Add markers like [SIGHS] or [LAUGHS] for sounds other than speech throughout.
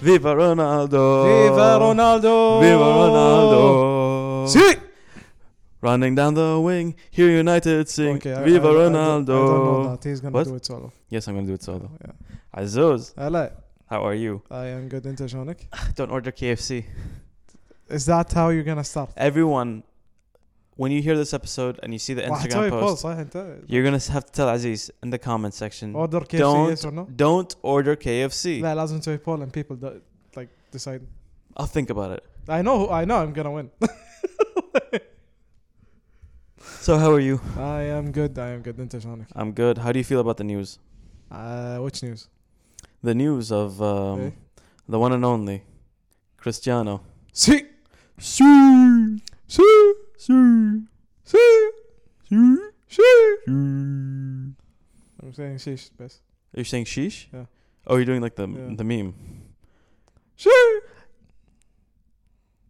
Viva Ronaldo! Viva Ronaldo! Viva Ronaldo! See? Running down the wing, here United sing. Viva I don't, I don't know Ronaldo! that. He's gonna What? do it solo. yes, I'm gonna do it solo. Yeah. Azuz, Hello. how are you? I am good انت شلونك؟ Don't order KFC. Is that how you're gonna start? Eh, Everyone, when you hear this episode and you see the Instagram وحتسوي post post, صح انت؟ you're gonna have to tell Aziz in the comment section. Order KFC Don't- yes or no? Don't order KFC. لا لازم تسوي poll and people do, like decide. I'll think about it. I know who, I know I'm gonna win. [LAUGHS] So how are you? I am good I am good انت شلونك؟ I'm good. How do you feel about the news? Uh, which news? The news of um, Eh? the one and only Cristiano. See? See, see, see, See? see, See? see. I'm saying sheesh بس. You're saying sheesh? Yeah. Oh, you're doing like the Yeah. the meme. Sheesh!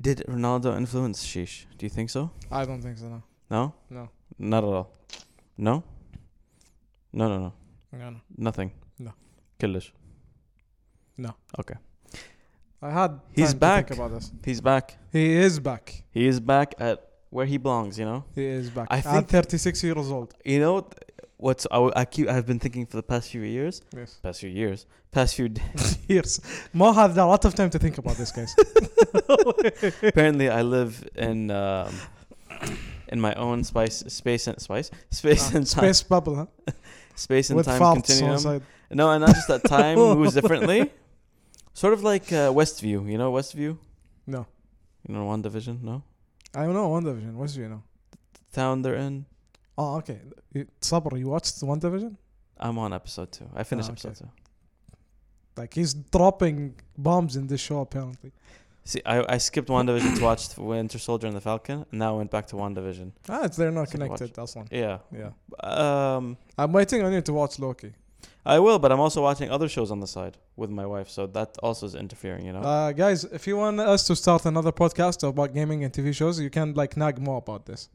Did Ronaldo influence sheesh? Do you think so? I don't think so no. No. No. Not at all. No. No, no, no. No, no. Nothing. No. Killish. I had He's time back. to think about this. He's back. He is back. He is back at where he belongs. You know. He is back. I At think- 36 years old. You know th- what's I, w- I keep I've been thinking for the past few years, Yes. past few years, past few days. Years. Mo had a lot of time to think about this, [LAUGHS] guys. [LAUGHS] Apparently, I live in um, in my own spice space and spice space Ah, and time Space bubble, huh? space and With time faults on continuum. side. No, and not just that time moves [LAUGHS] differently. Sort of like uh, Westview, you know Westview. No. You know One Division, no I don't know One Division. What do you know? town they're in. Oh, okay. You- Sabr, you watched One Division? I'm on episode two. I finished Ah, okay. episode two. Like he's dropping bombs in this show apparently. See, I, I skipped One Division to watch Winter Soldier and the Falcon, and now I went back to One Division. Ah, it's, they're not So you watch connected. That's one. Yeah. Yeah. Um. I'm waiting on you to watch Loki. I will, but I'm also watching other shows on the side with my wife, so that also is interfering, you know. Uh, guys, if you want us to start another podcast about gaming and TV shows, you can like nag more about this.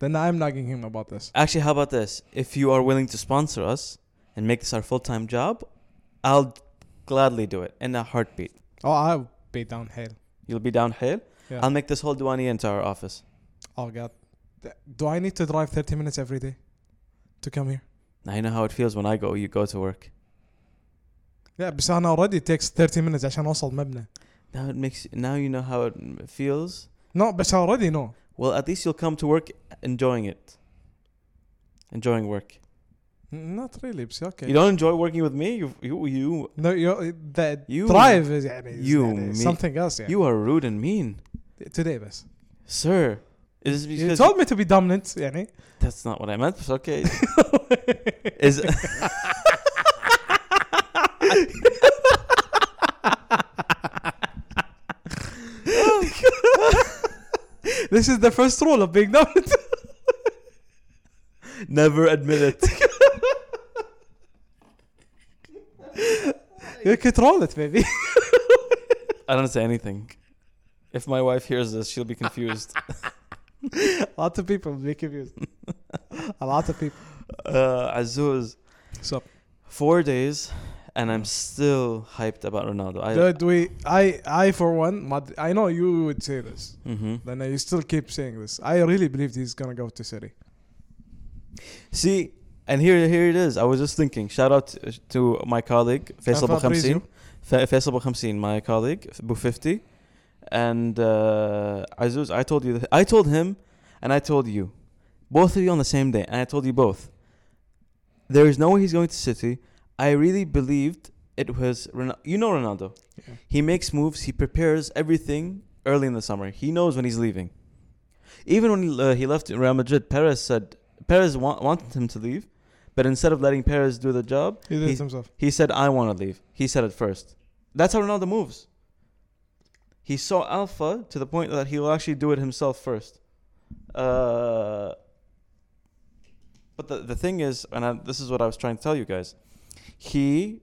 Then I'm nagging him about this. Actually, how about this? If you are willing to sponsor us and make this our full-time job, I'll gladly do it in a heartbeat. Oh, I'll be downhill. You'll be downhill. Yeah. I'll make this whole Duani into our office. oh god, Th- do I need to drive 30 minutes every day to come here? I know how it feels when I go. You go to work. Yeah, بس أنا already takes 30 minutes عشان أوصل مبنى. Now it makes. Now you know how it m- feels. No, بس I already know. Well, at least you'll come to work enjoying it. Enjoying work. N- Not really, بس okay. You don't enjoy working with me. You, you, you, No, you the You- drive is يعني is you يعني me- something else يعني. you are rude and mean, today بس. sir. Is this You because told me to be dominant يعني. That's not what I meant, but okay. [LAUGHS] Is [LAUGHS] This is the first rule of being dominant. [LAUGHS] never admit it. You control it, baby. I don't say anything. If my wife hears this, she'll be confused. A lot of people will be confused. A lot of people. uh, Azuz, So, four days, and I'm still hyped about Ronaldo. I, dude, we, I, I for one, Mad- I know you would say this. hmm Then you still keep saying this. I really believe he's gonna go to City. See, and here, here it is. I was just thinking. Shout out to, to my colleague Faisal And Fabrizio. Bukhamsin, Fa- Faisal Bukhamsin, my colleague Bu Fifty, and uh, Azuz. I told you. That, I told him, and I told you, both of you on the same day, and I told you both. There is no way he's going to City. I really believed it was. Ron- you know Ronaldo. Yeah. He makes moves. He prepares everything early in the summer. He knows when he's leaving. Even when uh, he left Real Madrid, Perez said Perez wa- wanted him to leave, but instead of letting Perez do the job, He did He's- it himself. he said, "I want to leave." He said it first. That's how Ronaldo moves. He's so alpha to the point that he'll actually do it himself first. Uh, but the the thing is, and I, this is what I was trying to tell you guys, he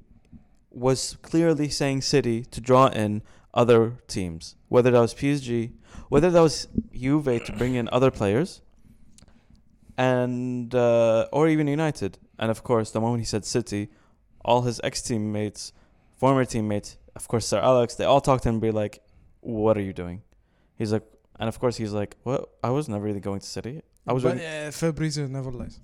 was clearly saying City to draw in other teams, whether that was PSG, whether that was Juve to bring in other players, and uh, or even United. And of course, the moment he said City, all his ex teammates, former teammates, of course, Sir Alex, they all talk to him and be like, what are you doing? He's like, and of course, he's like, what? I was never really going to City. I was But, really- uh, Fabrizio never lies.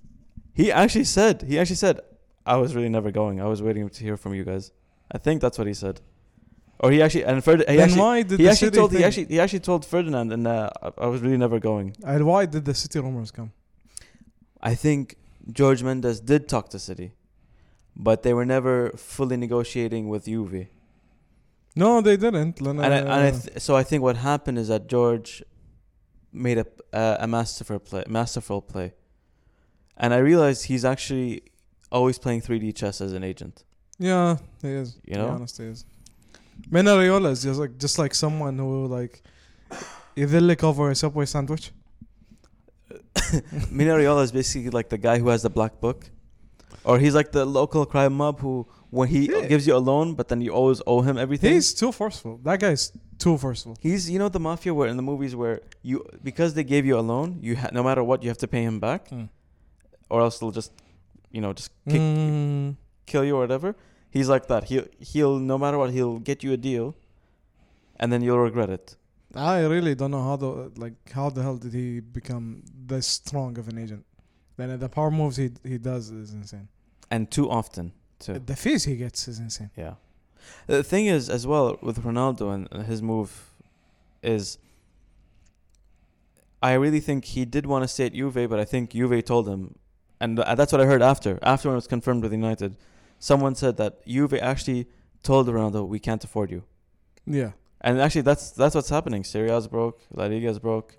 He actually said, he actually said, I was really never going. I was waiting to hear from you guys. I think that's what he said. Or he actually, and Ferd- he then actually, why did he the actually city told, he thing- actually, he actually told Ferdinand, and uh, I- I was really never going. And why did the city rumors come? I think George Mendes did talk to City, but they were never fully negotiating with Juve. No, they didn't. And, and I, and Uh. I th- so I think what happened is that George made a uh, a masterful play, masterful play, and I realized he's actually always playing 3D chess as an agent. yeah, he is. You know? to be honest, he is. Men Ariola is just like just like someone who like يذلك over a subway sandwich. Minariola is basically like the guy who has the black book, or he's like the local crime mob who when he Yeah. gives you a loan, but then you always owe him everything. He's too forceful. That guy's too forceful. He's you know the mafia where in the movies where you because they gave you a loan, you ha- no matter what you have to pay him back, Mm. or else they'll just you know just kick, Mm, kill you or whatever. He's like that. He will he'll no matter what he'll get you a deal, and then you'll regret it. I really don't know how the like how the hell did he become this strong of an agent. Then the power moves he he does is insane. And too often too. The fees he gets is insane. Yeah. The thing is, as well with Ronaldo and- and his move, is I really think he did want to stay at Juve, but I think Juve told him, and th- that's what I heard after. After when it was confirmed with United, someone said that Juve actually told Ronaldo, "We can't afford you." Yeah. And actually, that's that's what's happening. Syria's broke. La Liga's broke.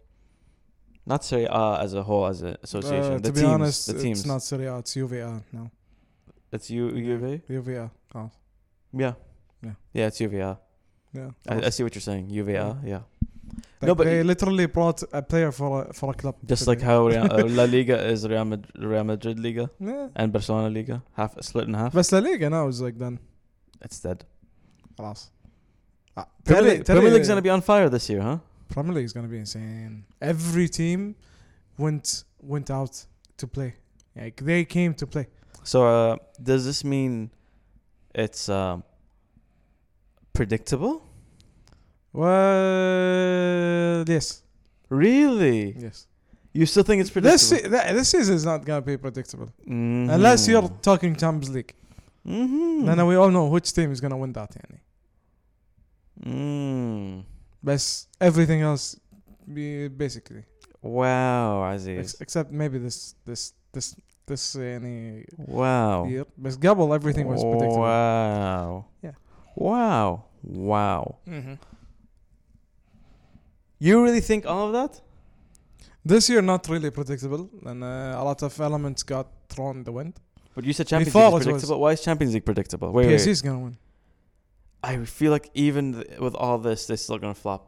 Not Serie A as a whole, as an association. Uh, the to be teams, honest, the teams. it's It's, not Serie A, it's UVA now. U- Juve. UVA. Oh. Yeah. Yeah. Yeah, it's UVA. Yeah. I, I see what you're saying. UVA. Yeah. Like No, but they it- literally brought a player for a, for a club. Just today. like how Real, uh, La Liga is Real Madrid, Real Madrid Liga Yeah. and Barcelona Liga, half split in half. But La Liga now is like done. It's dead. خلاص. Ah, Premier, Terry- League, Premier Terry- League's gonna be on fire this year, huh? Premier League is gonna be insane. Every team went went out to play. Like they came to play. So uh, does this mean it's um, predictable? Well, yes, Really? yes. You still think it's predictable? This se- that- this season is not gonna be predictable Mhm. unless you're talking Champions League. Mm-hmm. Then we all know which team is gonna win that. يعني. Mm. But everything else, be- basically, Wow, Aziz. ex- except maybe this this this this uh, any Wow. year. But Gabble, everything Oh, was predictable. uh, Wow. Yeah. Wow. Wow. Mhm. You really think all of that? This year not really predictable, and uh, a lot of elements got thrown in the wind. But you said Champions Before League it was- is predictable. Why is Champions League predictable? Wait, wait, PSG wait. is gonna win. I feel like even th- with all this, they're still gonna flop.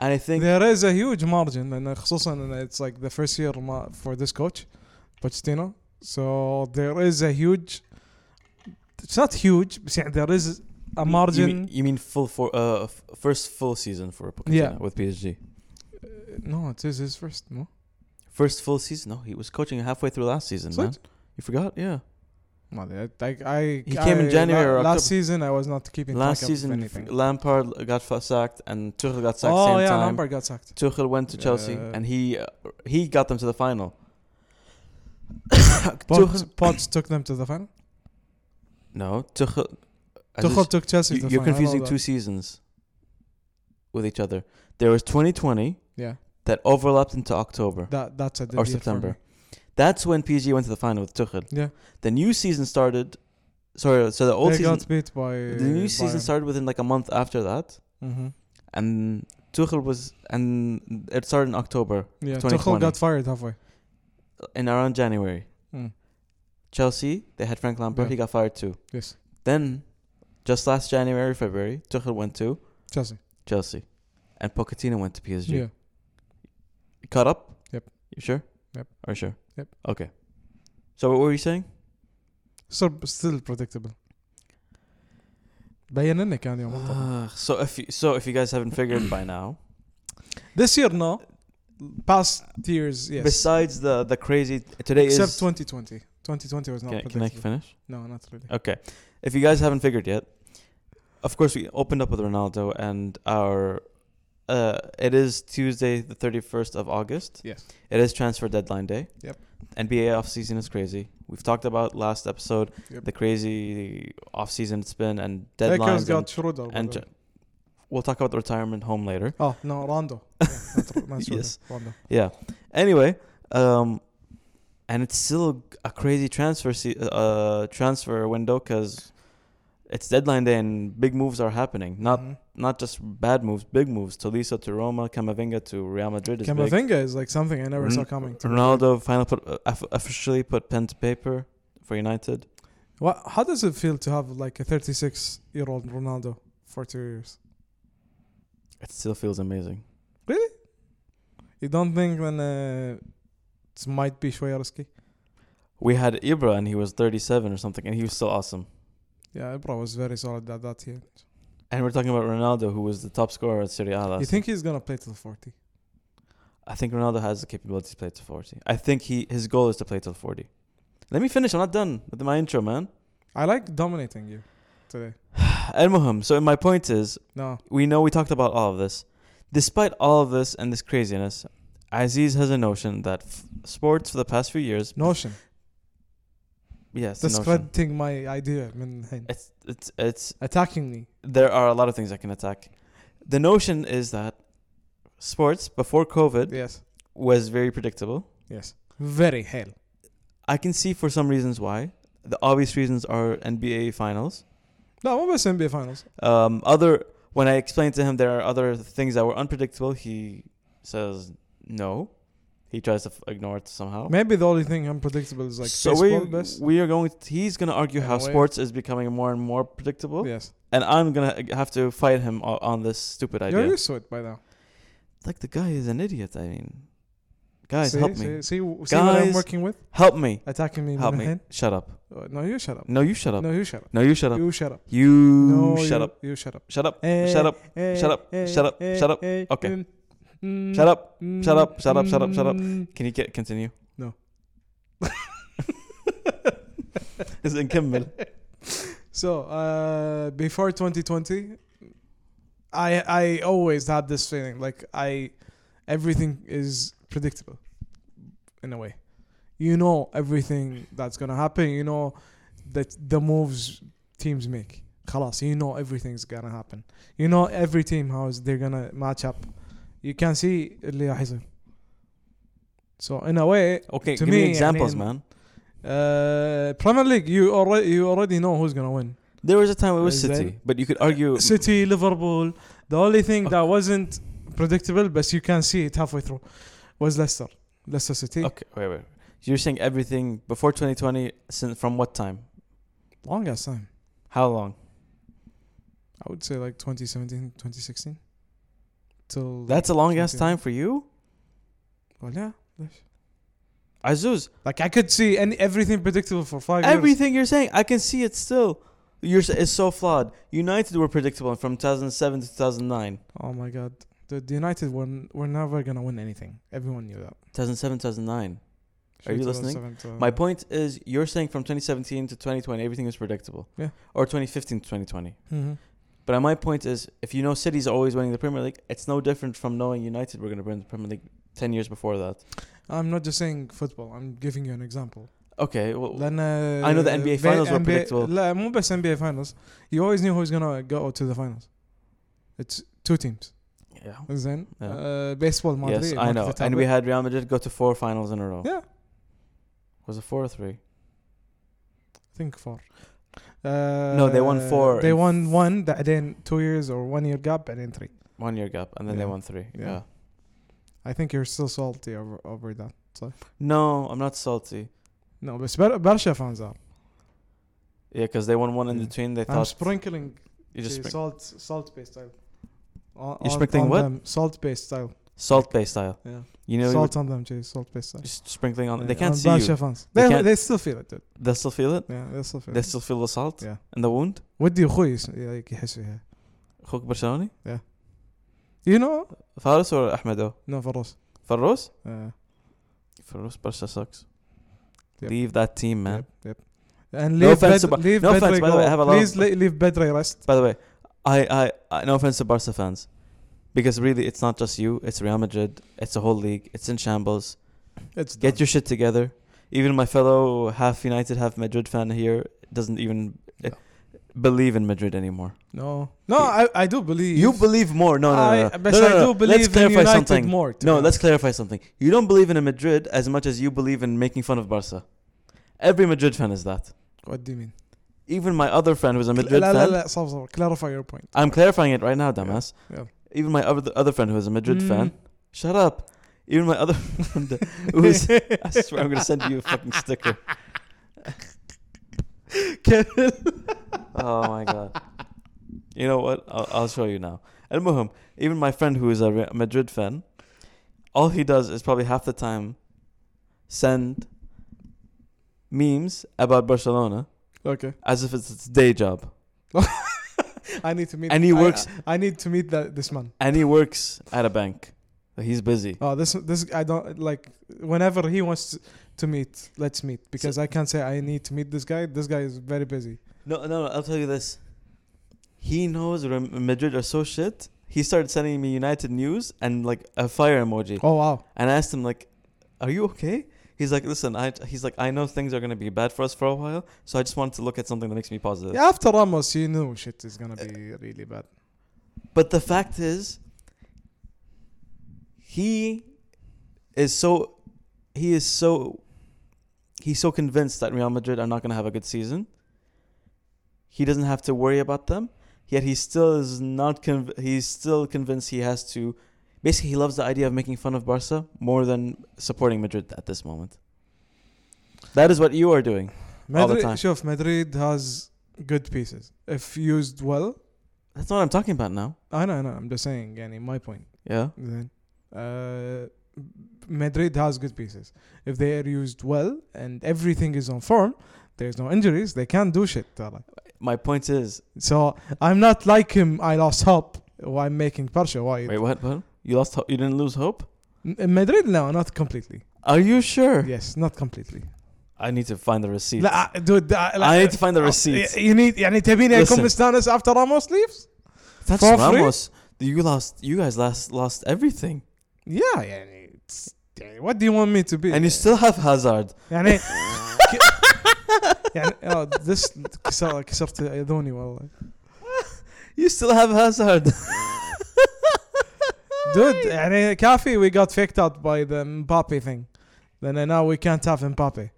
And I think There is a huge margin, and uh, خصوصا and it's like the first year ma- for this coach, Pochettino. So there is a huge. It's not huge, but yeah, there is a You margin. mean, you mean full for uh f- first full season for Pochettino Yeah. with PSG. Uh, no, it is his first. No, First full season? No, he was coaching halfway through last season, man. صدق؟ You forgot? Yeah. ما أدري, I, I, I, He came in January or la- Last October. season, I was not keeping Last track season, Of f- anything. Lampard got fa- sacked and Tuchel got sacked oh same yeah, time. Lampard got sacked. Tuchel went to Chelsea Yeah. and he uh, he got them to the final. [COUGHS] Potts, Tuchel, Potts took them to the final. no, Tuchel. I Tuchel just- took Chelsea. to you, the you're final, I know confusing that. two seasons with each other. There was 2020 Yeah, that overlapped into October. that that's a dead Or year for September. me. That's when PSG went to the final with Tuchel. Yeah. The new season started. Sorry, so the old they season. got beat by The new season started within like a month after that, hmm and Tuchel was and it started in October, Yeah, 2020. Tuchel got fired halfway. in around January. Mm. Chelsea, they had Frank Lampard. Yeah. He got fired too. Yes, Then, just last January, February, Tuchel went to Chelsea. Chelsea, and Pochettino went to PSG. Yeah, Caught up? Yep. You sure? Yep. Are you sure? Yep. Okay. So what were you saying? so still predictable. بين لنا كان يوم الطبعة. Ah, so if you, so, if you guys haven't figured by now, This year no, past years [CLEARS THROAT] yes. besides the the crazy today Except is 2020. 2020 was not can, can I predictable. finish? No, not really. Okay. If you guys haven't figured yet, of course, we opened up with Ronaldo, and our uh, it is Tuesday, the thirty first of August. Yes. It is transfer deadline day. Yep. NBA offseason is crazy. We've talked about last episode Yep. the crazy offseason it's been and Lakers deadlines. got And, Schroeder. by and the way. we'll talk about the retirement home later. oh no, Rondo. Yeah, not, [LAUGHS] Ro- not Schroeder, Yes. Rondo. Yeah. Anyway, um, and it's still a crazy transfer se- uh, transfer window because it's deadline day and big moves are happening. Not Mhm. not just bad moves, big moves. Tolisa to Roma, Camavinga to Real Madrid is big. Camavinga is like something I never Ron- saw coming. to be Mm-hmm. Ronaldo finally put uh, off- officially put pen to paper for United. fair. What? How does it feel to have like a 36 year old Ronaldo for two years? It still feels amazing. You don't think then uh, it might be شوية risky? We had Ibra and he was 37 or something, and he was still awesome. Yeah, Ibra was very solid at that year. And we're talking about Ronaldo, who was the top scorer at Serie A. last You think he's gonna play till 40? I think Ronaldo has the capability to play till 40. I think he his goal is to play till 40. Let me finish. I'm not done with my intro, man. [SIGHS] I like dominating you today. El Muhim. So my point is, No, we know we talked about all of this. Despite all of this and this craziness, Aziz has a notion that f- sports for the past few years, [LAUGHS] notion. yes, the notion. Discrediting my idea من الحين. It's it's it's Attacking me. there are a lot of things that can attack. The notion is that sports before COVID Yes. was very predictable. Yes. Very hell. I can see for some reasons why. The obvious reasons are NBA finals. لا مو بس NBA finals. Um, other when I explained to him there are other things that were unpredictable, he says no. He tries to f- ignore it somehow. Maybe the only thing unpredictable is like Oh. so we baseball بس. we are going. he's going to argue In how a way. sports is becoming more and more predictable, Yes. and I'm going to have to fight him o- on this stupid idea. You're used to it by now. Like the guy is an idiot. I mean, guys, see, help see, me, See, see what I'm Guys, working with? help me, Attacking me help من me. الحين. Shut up. Uh, No, you shut up. No, you shut up. No, you shut up. No, you shut up. You shut up. You No, shut you- up. You shut up. Shut up. Eh, Shut up. eh, shut up, eh, shut up, eh, shut up. eh, Okay. mm, mm, Shut up. mm, shut up, shut up, shut up, shut up. mm. Can you get continue? [LAUGHS] No. Listen, كمل. So uh, before 2020, I I always had this feeling like I everything is predictable in a way. You know everything that's gonna happen. You know that the moves teams make. خلاص, you know everything's gonna happen. You know every team how is they're gonna match up. You can see اللي راح يصير. So in a way, Okay, To give me, me, examples, يعني- man. uh, Premier League you already you already know who's gonna win. There was a time it was Is that- City, but you could argue City, Liverpool. The only thing that wasn't predictable, but you can see it halfway through, was Leicester. Leicester City. Okay, wait, wait. You're saying everything before 2020 since from what time? Long ass time. How long? I would say like 2017, 2016. Till. That's a long ass 20. time for you? Well, yeah. Azuz, Like, I could see any everything predictable for five years. everything you're saying, I can see it still. You're s- it's so flawed. United were predictable from 2007 to 2009. Oh, my God. The, the United were, n- were never going to win anything. Everyone knew that. 2007 2009. Are you listening? 2007 to- My point is you're saying from 2017 to 2020 everything was predictable. Yeah. Or 2015 to 2020. Mhm. But my point is, if you know City's always winning the Premier League, it's no different from knowing United were going to win the Premier League 10 years before that. I'm not just saying football. I'm giving you an example. Okay, well, لان I know the NBA finals were predictable. لا مو بس NBA finals you always knew who's gonna go to the finals it's two teams yeah. زين Yeah. uh, baseball ما Yes, ادري I know. And we had Real Madrid go to four finals in a row. Yeah. Was it four or three? think four uh, No, they won four they in- won one بعدين two years or one year gap بعدين three One year gap, and then they Yeah. won three. Yeah. Yeah. I think you're still salty over, over that No, I'm not salty. no بس بر- برشا fans are Yeah, because they won one in Yeah. between. They I'm thought sprinkling you just the sprink- salt salt based style on, You're sprinkling what? salt based style salt based style. yeah You know, you salt on them Jay salt based were style just sprinkling on. They Yeah, can't on see برشا you. fans They they, can't- they still feel it dude. They still feel it. Yeah, that's still fair. They still feel the salt Yeah. and the wound. ودي اخوي يس- يعني يحس فيها. خوك برشلوني؟ You know? فارس ولا أحمدو؟ No, فراس. فروس؟ Uh, فروس برشا sucks. Yep. Leave that team, man. yep, yep. And No leave offense Bed- about- leave no offense, Bedre by the way, go. I have a lot of- Please le- leave Bedre rest. By the way, I, I, I no offense to Barca fans, because really it's not just you. It's Real Madrid. It's the whole league. It's in shambles. It's done. Get your shit together. Even my fellow half United, half Madrid fan here doesn't even eh, No. believe in Madrid anymore. no, no. I, I do believe You believe more? No, no, no. I, no. but no, no, I no. do believe let's in clarify United something. more. to No, be let's honest. clarify something. You don't believe in Madrid as much as you believe in making fun of Barca. Every Madrid fan is that. What do you mean? Even my other friend who's a Madrid La- la- fan. la- stop, stop. Clarify your point. I'm clarifying it right now, dumbass. yeah. Even my other other friend who is a Madrid Mm. fan. Shut up. Even my other [LAUGHS] friend who is I swear I'm gonna send you a fucking [LAUGHS] sticker. oh my god. You know what? I'll, I'll show you now. Al Muhim, even my friend who is a Re- Madrid fan, all he does is probably half the time send memes about Barcelona Okay, as if it's his day job. I need to meet. And he I- works- I, I need to meet that this man. And he works at a bank. He's busy. Oh, this this I don't like. Whenever he wants to, to meet, let's meet because I can't say I need to meet this guy. This guy is very busy. No, no, no, I'll tell you this. He knows Rem- Madrid are so shit. He started sending me United news and like a fire emoji, Oh wow. and I asked him like, "Are you okay?" He's like, "Listen, I." He's like, "I know things are gonna be bad for us for a while, so I just wanted to look at something that makes me positive." Yeah, after Ramos, you knew shit is gonna be really bad. But the fact is, he is so he is so he's so convinced that Real Madrid are not going to have a good season. He doesn't have to worry about them. Yet he still is not conv- he's still convinced he has to basically he loves the idea of making fun of Barca more than supporting Madrid at this moment. That is what you are doing. All the Madrid, time. شوف, Madrid has good pieces if used well. That's not what I'm talking about now. I know, I know. I'm just saying. يعني my point. Yeah. Then, uh, Madrid has good pieces if they are used well and everything is on form. There's no injuries. They can do shit. ترى. My point is, So I'm not like him. I lost hope. Why I'm making Barca? Why? wait, what? What? You lost ho- you didn't lose hope? In Madrid? No, not completely. Are you sure? Yes, not completely. I need to find the receipt. لا, I- dude, uh, I, I need to find the receipts. oh, You need يعني تبيني Listen. اكون مستانس after Ramos leaves? That's for free? Ramos. You lost. You guys lost lost everything, Yeah, يعني it's- يعني what do you want me to be? and you still have Hazard. يعني [LAUGHS] يعني oh, this كسر- كسرت اذوني والله. You still have Hazard. [LAUGHS] Dude, يعني كافي we got faked out by the Mbappe thing. Then uh, now we can't have Mbappe.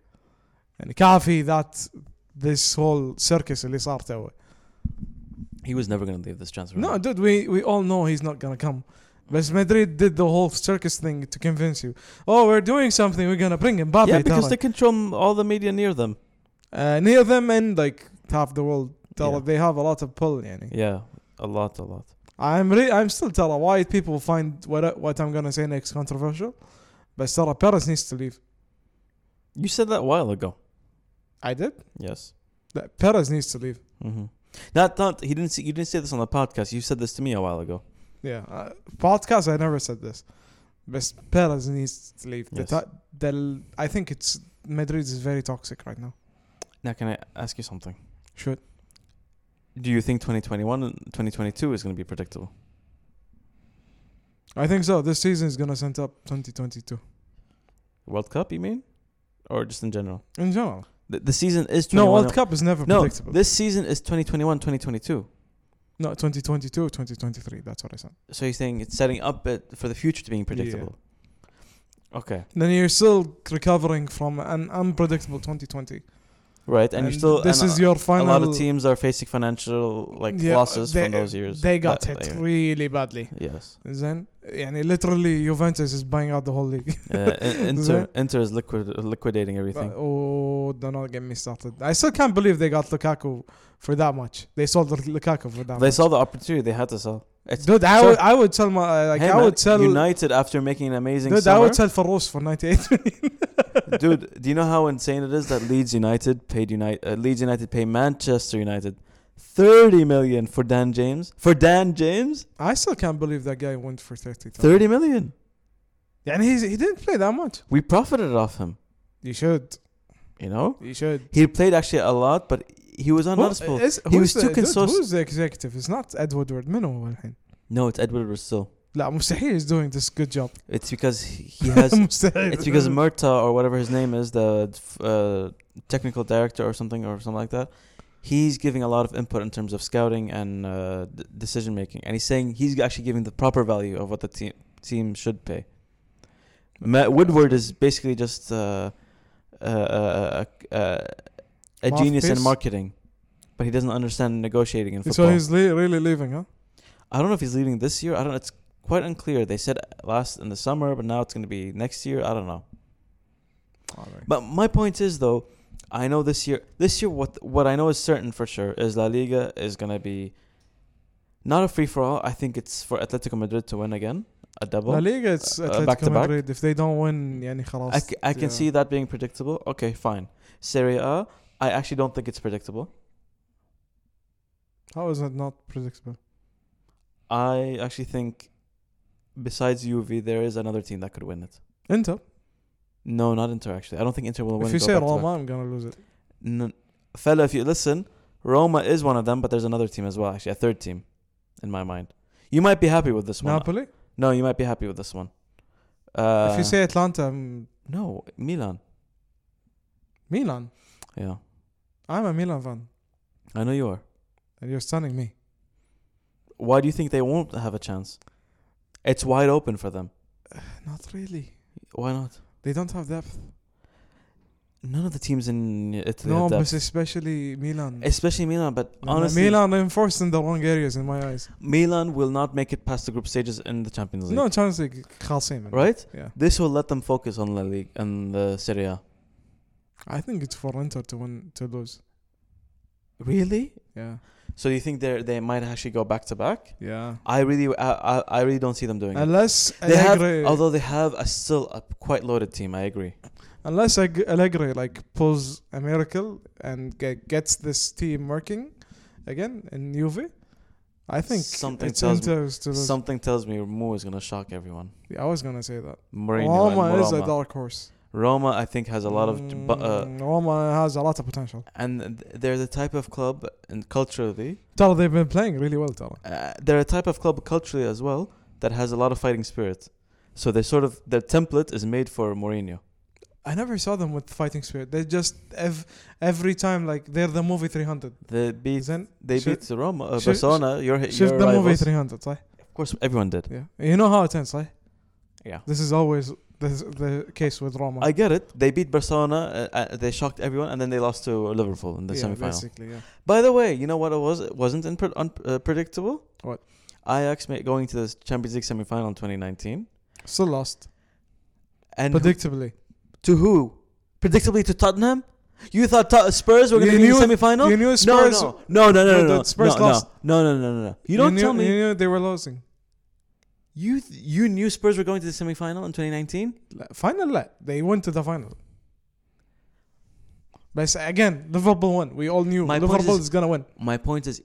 يعني كافي that this whole circus اللي صار توه. He was never gonna leave this transfer. No, window. dude, we, we all know he's not gonna come. But Madrid did the whole circus thing to convince you. Oh, we're doing something. We're gonna bring Mbappe. yeah, because they ترى. control m- all the media near them. uh, near them and like half the world. Tell Yeah. they have a lot of pull. Yani. Yeah, a lot, a lot. I'm re- I'm still telling why people find what I, what I'm gonna say next controversial. But Sarah Perez needs to leave. You said that a while ago. I did. Yes. That Perez needs to leave. Mm-hmm. Not, not. He didn't. See, you didn't say this on the podcast. You said this to me a while ago. Yeah, uh, podcast. I never said this, but Perez needs to leave. The Yes. ta- the, I think it's Madrid is very toxic right now. Now, can I ask you something? Should Do you think 2021 and 2022 is going to be predictable? I think so. This season is gonna set up 2022 World Cup, you mean, or just in general? in general. The, the season is No, 21 World Cup is never No, predictable. this season is 2021, 2022. no, 2022, 2023. That's what I said. So you're saying it's setting up it for the future to being predictable. Okay. Then you're still recovering from an unpredictable 2020. Right, and, you're still This and is a- your final. a lot of teams are facing financial like Yeah, losses they- from those years. They got But- hit uh, really badly. Yes. Then, yani literally, Juventus is buying out the whole league. Uh, In- [LAUGHS] Inter Inter is liquid liquidating everything. oh, do not get me started. I still can't believe they got Lukaku for that much. They sold Lukaku for that they much. saw the opportunity they had to sell. It's Dude, I So- would, I would sell my like Hey, I man, would sell United after making an amazing Dude, I summer. would sell Farouz for 98 million. Dude, do you know how insane it is that Leeds United paid United uh, Leeds United pay Manchester United 30 million for Dan James? For Dan James? I still can't believe that guy went for 30. 30 million. And he's, he didn't play that much. We profited off him. You should. You know, He should. he played actually a lot, but he was unnoticeable. is- He who's was too the- dude, consos- Who's the executive? It's not Edward Ward Minnow هو الحين. No, it's Edward Russell. لا مستحيل is doing this good job. It's because he he [LAUGHS] has. مستحيل. it's because Murta or whatever his name is, the uh, technical director or something or something like that. He's giving a lot of input in terms of scouting and uh, d- decision making, and he's saying he's actually giving the proper value of what the team team should pay. Matt Woodward is basically just uh, uh, uh, uh, uh, a genius in Mouthpiece? marketing, but he doesn't understand negotiating in So football. he's le- really leaving, huh? I don't know if he's leaving this year. I don't. It's quite unclear. They said last in the summer, but now it's going to be next year. I don't know. But my point is though, I know this year. This year, what what I know is certain for sure is La Liga is going to be not a free for all. I think it's for Atletico Madrid to win again, a double. La Liga it's Uh, Atletico back to back. Madrid. If they don't win يعني خلاص. I, c- I can yeah. see that being predictable. Okay, fine. Serie A, I actually don't think it's predictable. How is it not predictable? I actually think besides UV, there is another team that could win it. Inter. No, not Inter. Actually, I don't think Inter will win. If it go you say back-to-back. Roma, I'm gonna lose it. N- fella, if you listen, Roma is one of them, but there's another team as well, actually, a third team, in my mind. You might be happy with this one. Napoli. No, you might be happy with this one. Uh, if you say Atlanta, I'm no, Milan. Milan. Yeah, I'm a Milan fan, I know you are. and you're stunning me. Why do you think they won't have a chance? It's wide open for them. Not really. Why not? They don't have depth. None of the teams in Italy no, have depth. but especially Milan. especially Milan. But No, no, honestly, Milan, Milan enforced in the wrong areas in my eyes. will not make it past the group stages in the Champions League. No chance they خالصين. منه. right? Yeah. This will let them focus on La Liga and the Serie A. I think it's for Inter to win to lose. Really? Yeah. So you think they they might actually go back to back? Yeah. I really I, I, I really don't see them doing it. Unless They have, Allegri, although they have a still a quite loaded team. I agree. unless Ag- Allegri like pulls a miracle and ge- gets this team working again in Juve, I think Something it's tells me- Inter's to lose. Something tells me Mu is gonna shock everyone. Yeah, I was gonna say that. Mourinho Roma and is a Roma. dark horse. Roma, I think, has a lot of, bu- uh, Mm, Roma has a lot of potential. and th- they're the type of club and culturally, Tell they've been playing really well. Tell uh, they're a type of club culturally as well that has a lot of fighting spirit. So they sort of their template is made for Mourinho. I never saw them with fighting spirit. They just ev- every time like they're the movie 300. They beat Then they Should- beat Roma, uh, should- Barcelona. Your, she's your the movie rivals. 300, صح? Of course, everyone did. Yeah. You know how it ends, right? Yeah. This is always the the case with Roma. I get it. They beat Barcelona. Uh, uh, they shocked everyone, and then they lost to Liverpool in the yeah, semifinal. Basically, yeah. By the way, you know what it was? It wasn't unpre- unpredictable. Uh, predictable? What? Ajax ma- going to the Champions League semifinal in 2019, Still lost. and Predictably. who- to who? Predictably to Tottenham. You thought Tot- Spurs were going to You be in the knew- semifinal? you knew Spurs. no, no, no, no, no, No, no, that Spurs no, no, lost. no, no, no, no, no. You don't knew, tell me You knew they were losing. you th- you knew Spurs were going to the semifinal in 2019. لا, Final, لا. They went to the final. But again, Liverpool won. We all knew My point Liverpool is- is, gonna win. My point is,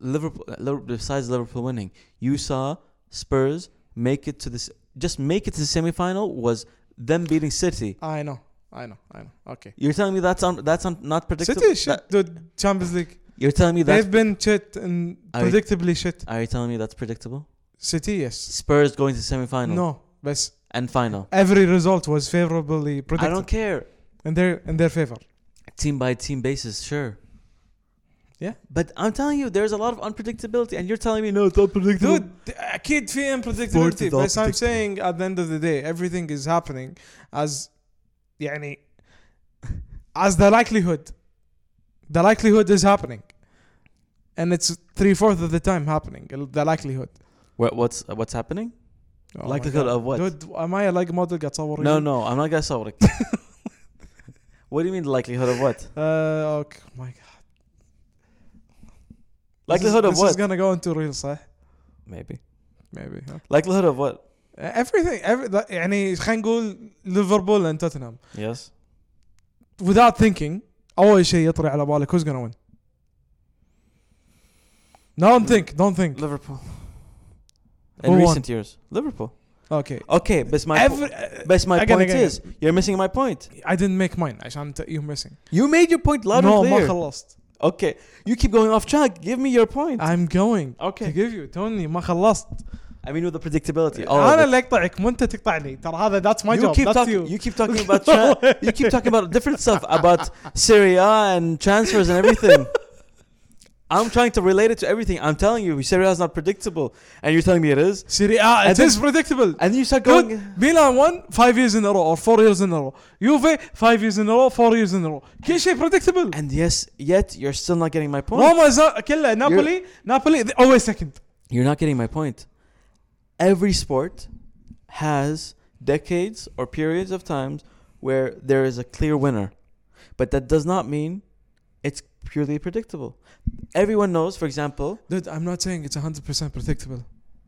Liverpool. uh, Liver- Besides Liverpool winning, you saw Spurs make it to this. Just make it to the semifinal was them beating City. I know. I know. I know. Okay. You're telling me that's un, that's un, not predictable. City is shit. That- dude, Champions League. you're telling me that. They've been shit and I- predictably shit. Are you telling me that's predictable? City, yes. Spurs going to semifinal No, but and final. every result was favorably I predicted don't care. in their in their favor. Team by team basis, sure. Yeah. But I'm telling you, there's a lot of unpredictability, and you're telling me no, it's unpredictable. Dude, أكيد في Sport unpredictability is all بس I'm predictable. saying at the end of the day everything is happening as يعني as the likelihood the likelihood is happening and it's three fourths of the time happening the likelihood What, what's what's happening? Oh my Likelihood God. of what? dude am I a leg model قاعد اصور No, رجلي؟ no, I'm not gonna solve it. what do you mean likelihood of what? uh, okay my god Likelihood this of is, what? this is gonna go into real صح Maybe. maybe okay. Likelihood of what? everything every, يعني خلينا نقول ليفربول and توتنهام Yes. without thinking اول شيء يطري على بالك who's gonna win don't think don't think Liverpool. Who In won? recent years, Liverpool. Okay. Okay, but my po- Every- uh, but my again, point again, is you're missing my point. I didn't make mine عشان ت- you're missing. You made your point loud no, and ما clear. خلصت. Okay, you keep going off track. Give me your point. I'm going to okay, give you Tony ما خلصت. I mean with the predictability. Oh, انا but اللي اقطعك مو انت تقطعني ترى هذا that's my you job. keep That's talking. you. You. keep [LAUGHS] talking about tra- you keep talking about different stuff about Syria and transfers and everything. I'm trying to relate it to everything. I'm telling you, Syria is not predictable, and you're telling me it is. Serie A, And آه، it then- is predictable. And you start going. Good. Milan won five years in a row or four years in a row. Juve five years in a row, four years in a row. كل شيء predictable. And yes, yet you're still not getting my point. روما ز- كلها نابولي نابولي they always oh, second. You're not getting my point. Every sport has decades or periods of times where there is a clear winner. But that does not mean it's purely predictable. Everyone knows, for example. Dude, I'm not saying it's 100% predictable.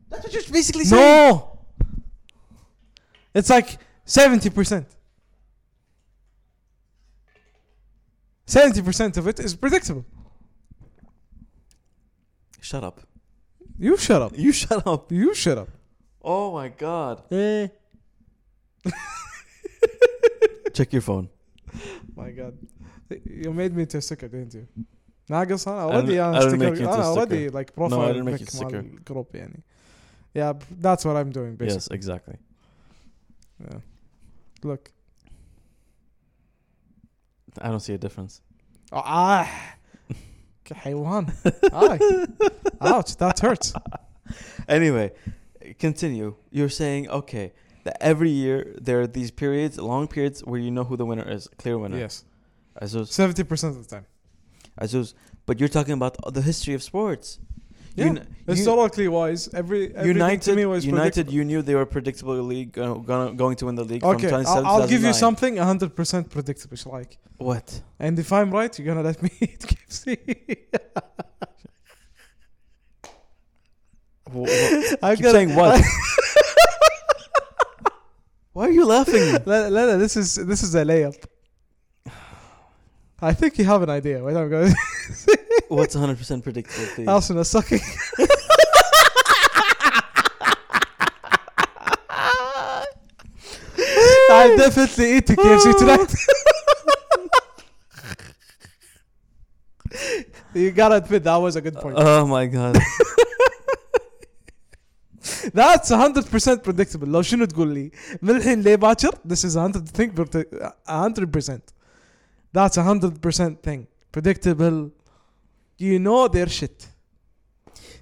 That's what you're basically No. It's like 70%. 70% of it is predictable. Shut up. You shut up. You [LAUGHS] shut up. You shut up. Oh my god. Eh. [LAUGHS] Check your phone. My God. You made me into a sticker, didn't you? ناقص انا already I انا didn't make you into sticker a انا already sticker. like profile didn't make pic you a مال sticker. الجروب يعني. Yeah, that's what I'm doing basically. Yes, exactly. Yeah. Look. I don't see a [LAUGHS] difference. Ah. [LAUGHS] كحيوان. [LAUGHS] Ah. Ouch, that hurts. Oh. Anyway, continue. You're saying okay that every year there are these periods, long periods where you know who the winner is, clear winner. Yes. Azuz, 70% of the time. Azuz. But you're talking about the history of sports. Yeah. Uni- you- Historically wise, every everything to United, me was United, predictable. you knew they were predictably go- gonna, going to win the league Okay, from 2007 I'll, I'll give you 2009. something 100% predictable, إيش رايك? What? And if I'm right, you're gonna let me [LAUGHS] eat KFC. Wh- wh- I'm keep saying [LAUGHS] what? Why are you laughing? لا لا لا this is this is a layup. I think you have an idea. Wait, I'm [LAUGHS] going. What's 100% predictable? Please? [LAUGHS] Arsenal sucking. I'm definitely eating KFC tonight. you gotta admit that was a good point. [LAUGHS] Oh my god. That's 100% predictable. لو شنو تقول لي من الحين ليه باكر this is 100 thing predict- 100%. That's 100% thing. Predictable. You know their shit.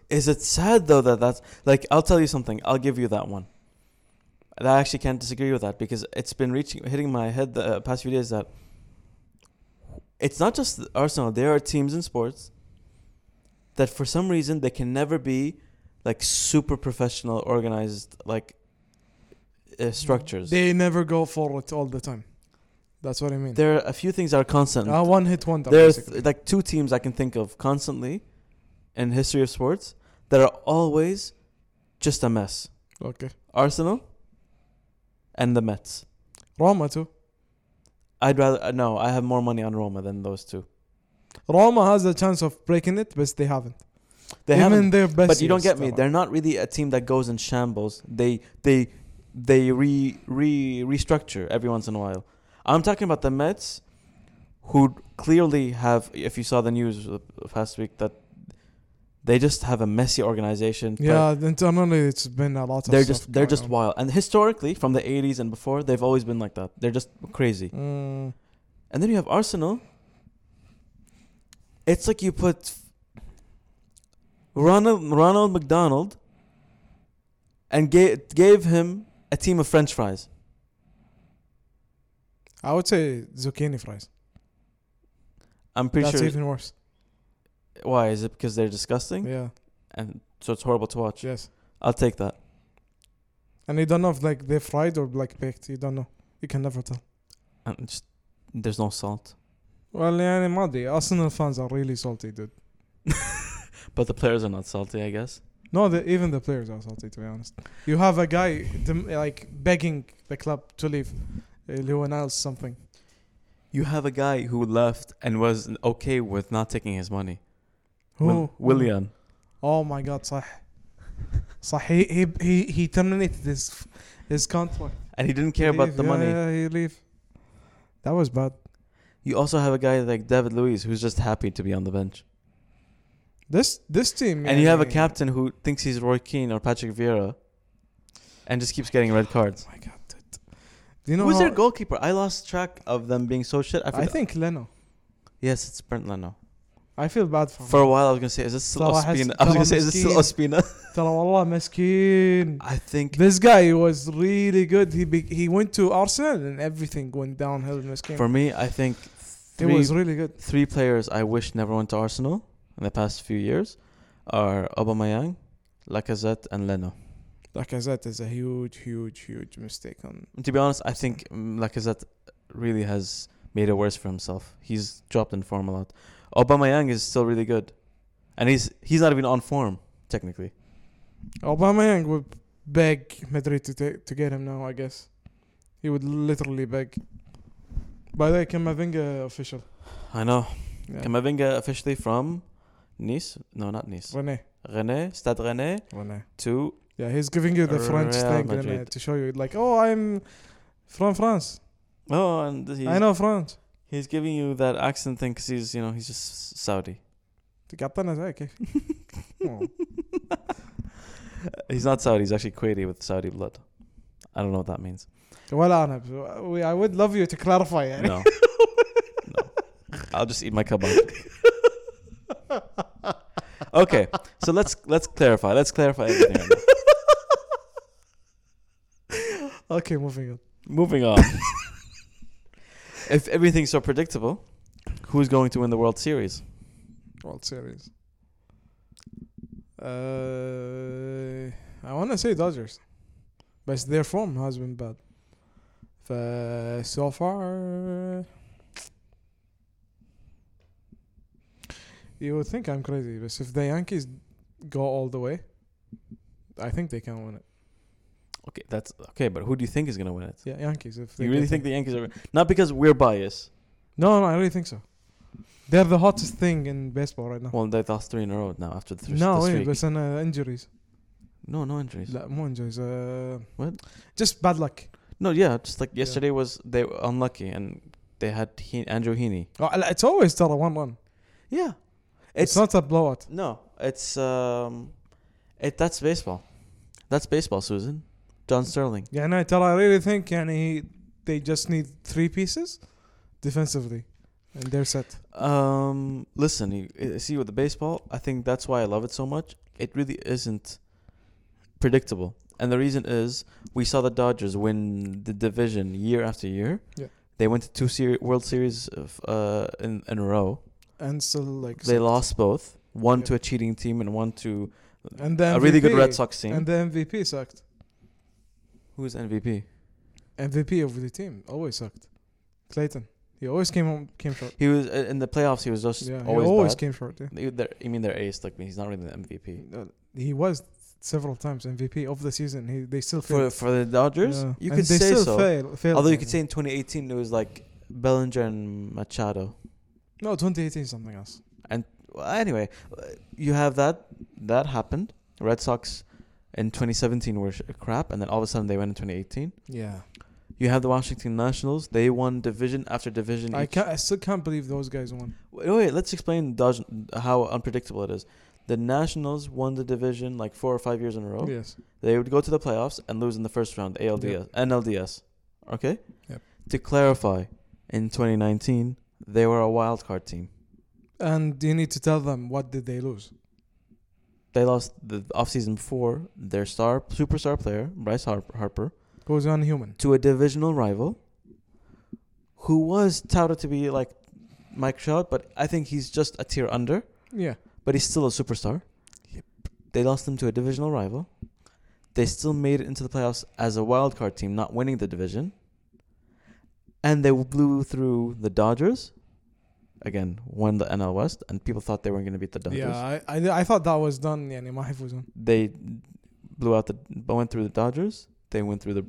Is it sad though that that's like I'll tell you something. I'll give you that one. And I actually can't disagree with that because it's been reaching hitting my head the uh, past few days that it's not just Arsenal. There are teams in sports that for some reason they can never be like super professional, organized like uh, structures. They never go for it all the time. That's what I mean. There are a few things that are constant. Uh, one hit wonder. There's basically. like two teams I can think of constantly in history of sports that are always just a mess. okay. Arsenal and the Mets. Roma too. I'd rather uh, no. I have more money on Roma than those two. Roma has a chance of breaking it, but they haven't. They Even haven't. their best. But you don't years, get me. ترى. They're not really a team that goes in shambles. They they they re re restructure every once in a while. I'm talking about the Mets, who clearly have. If you saw the news uh, past week, that they just have a messy organization. but Yeah, internally it's been a lot of. They're stuff just they're just going on. wild, and historically, from the '80s and before, they've always been like that. They're just crazy. Mm, And then you have Arsenal. It's like you put Ronald Ronald McDonald and gave gave him a team of French fries. I would say zucchini fries. I'm pretty That's sure. even worse. why is it? Because they're disgusting, Yeah. and so it's horrible to watch. Yes. I'll take that. And you don't know if like they're fried or like baked. You don't know. You can never tell. And just there's no salt, Well, يعني ما أدري. Arsenal fans are really salty, dude. but the players are not salty, I guess. No, the, even the players are salty, to be honest. You have a guy dem- like begging the club to leave. اللي هو Niles something. You have a guy who left and was okay with not taking his money. Who? William. Oh my God, صح. So he he he, he terminated his his contract. and he didn't He care about leave. the Yeah, money. Yeah, he leave. That was bad. You also have a guy like David Luiz who's just happy to be on the bench, This this team. and you have a يعني- captain who thinks he's Roy Keane or Patrick Vieira, and just keeps getting red cards. Oh my god. dude. Do you know Who's how, their goalkeeper? I lost track of them being so shit. I, I forgot. think Leno. yes, it's Brent Leno. I feel bad for him. For a while, I was gonna say, is this still Salah has Ospina? I was gonna say, is this still Ospina? [LAUGHS] ترى والله مسكين. I think This guy was really good. He be, he went to Arsenal and everything went downhill. Meskin. for me, I think it three was really good. three players I wish never went to Arsenal in the past few years are Aubameyang, Lacazette, and Leno. Lacazette is a huge, huge, huge mistake on And to be honest, I think mm, Lacazette really has made it worse for himself. He's dropped in form a lot. Aubameyang is still really good, and he's he's not even on form technically. Aubameyang would beg Madrid to take, to get him now. I guess he would literally beg. By the way, Camavinga official. I know. Yeah. Kamavinga officially from Nice? No, not Nice. Rene. Rennes, Stade Rennes Rene. to Yeah, he's giving you the French Real thing Rene, Madrid. to show you, like, oh, I'm from France. oh, and he's, I know France. he's giving you that accent thing because he's you know he's just Saudi. قطعنا [LAUGHS] زي كيف. Oh. He's not Saudi. He's actually Kuwaiti with Saudi blood. I don't know what that means. ولا انا we, I would love you to clarify يعني [LAUGHS] No, no. I'll just eat my kebab. Okay, so let's let's clarify. Let's clarify everything. Right now. okay, moving on. Moving on. [LAUGHS] if everything's so predictable, who's going to win the World Series? World Series. Uh, I want to say Dodgers, but their form has been bad. ف so far, you would think I'm crazy, but if the Yankees go all the way, I think they can win it. Okay, that's okay. But who do you think is going to win it? Yeah, Yankees. If they You really get think in. the Yankees are not because we're biased? No, no, I really think so. They're the hottest thing in baseball right now. Well, they lost three in a row now after the, th- No, the wait, streak. but uh, injuries. no, no injuries. لا مو injuries. Uh, What? Just bad luck. No, yeah, just like yesterday was they were unlucky and they had he- Andrew Heaney. Oh, لا, it's always ترى 1 1. Yeah, It's, not a blowout. no, it's um, it that's baseball, that's baseball, Susan. John Sterling. يعني ترى I really think يعني they just need three pieces defensively and they're set. Um, listen, you, you see with the baseball, I think that's why I love it so much. It really isn't predictable, and the reason is we saw the Dodgers win the division year after year. Yeah. They went to two seri- World Series of, uh, in, in a row. And still like They lost both, one Yeah. to a cheating team and one to and the MVP, a really good Red Sox team. And the MVP sucked. Who's MVP? MVP of the team always sucked. Clayton. He always came home, came short. He was uh, in the playoffs. He was just Yeah, always, he always bad. came short. Yeah. They- they're- you mean they're ace? Like he's not really the MVP Uh, He was several times MVP of the season. He they still for failed. for the Dodgers. Yeah. You And could they say still so. fail, failed Although you يعني. could say in 2018 it was like Bellinger and Machado. no 2018 something else. Well, anyway, uh, you have that that happened. Red Sox in 2017 were sh- crap, and then all of a sudden they went in 2018. Yeah, You have the Washington Nationals. They won division after division. I each. can I still can't believe those guys won. Wait, wait, let's explain Dodge, how unpredictable it is. The Nationals won the division like four or five years in a row. Yes. They would go to the playoffs and lose in the first round, ALDS, NLDS. Okay? Yep. To clarify, in 2019, they were a wild card team. And you need to tell them what did they lose. They lost the offseason before their star superstar player, Bryce Harp- Harper, Who was unhuman. to a divisional rival who was touted to be like Mike Trout, but I think he's just a tier under. Yeah. but he's still a superstar. Yep. They lost him to a divisional rival. They still made it into the playoffs as a wild card team, not winning the division. And they blew through the Dodgers. Again, won the NL West, and people thought they weren't going to beat the Dodgers. Yeah, I, I I thought that was done. يعني ما حيفوزون. They blew out the went through the Dodgers. They went through the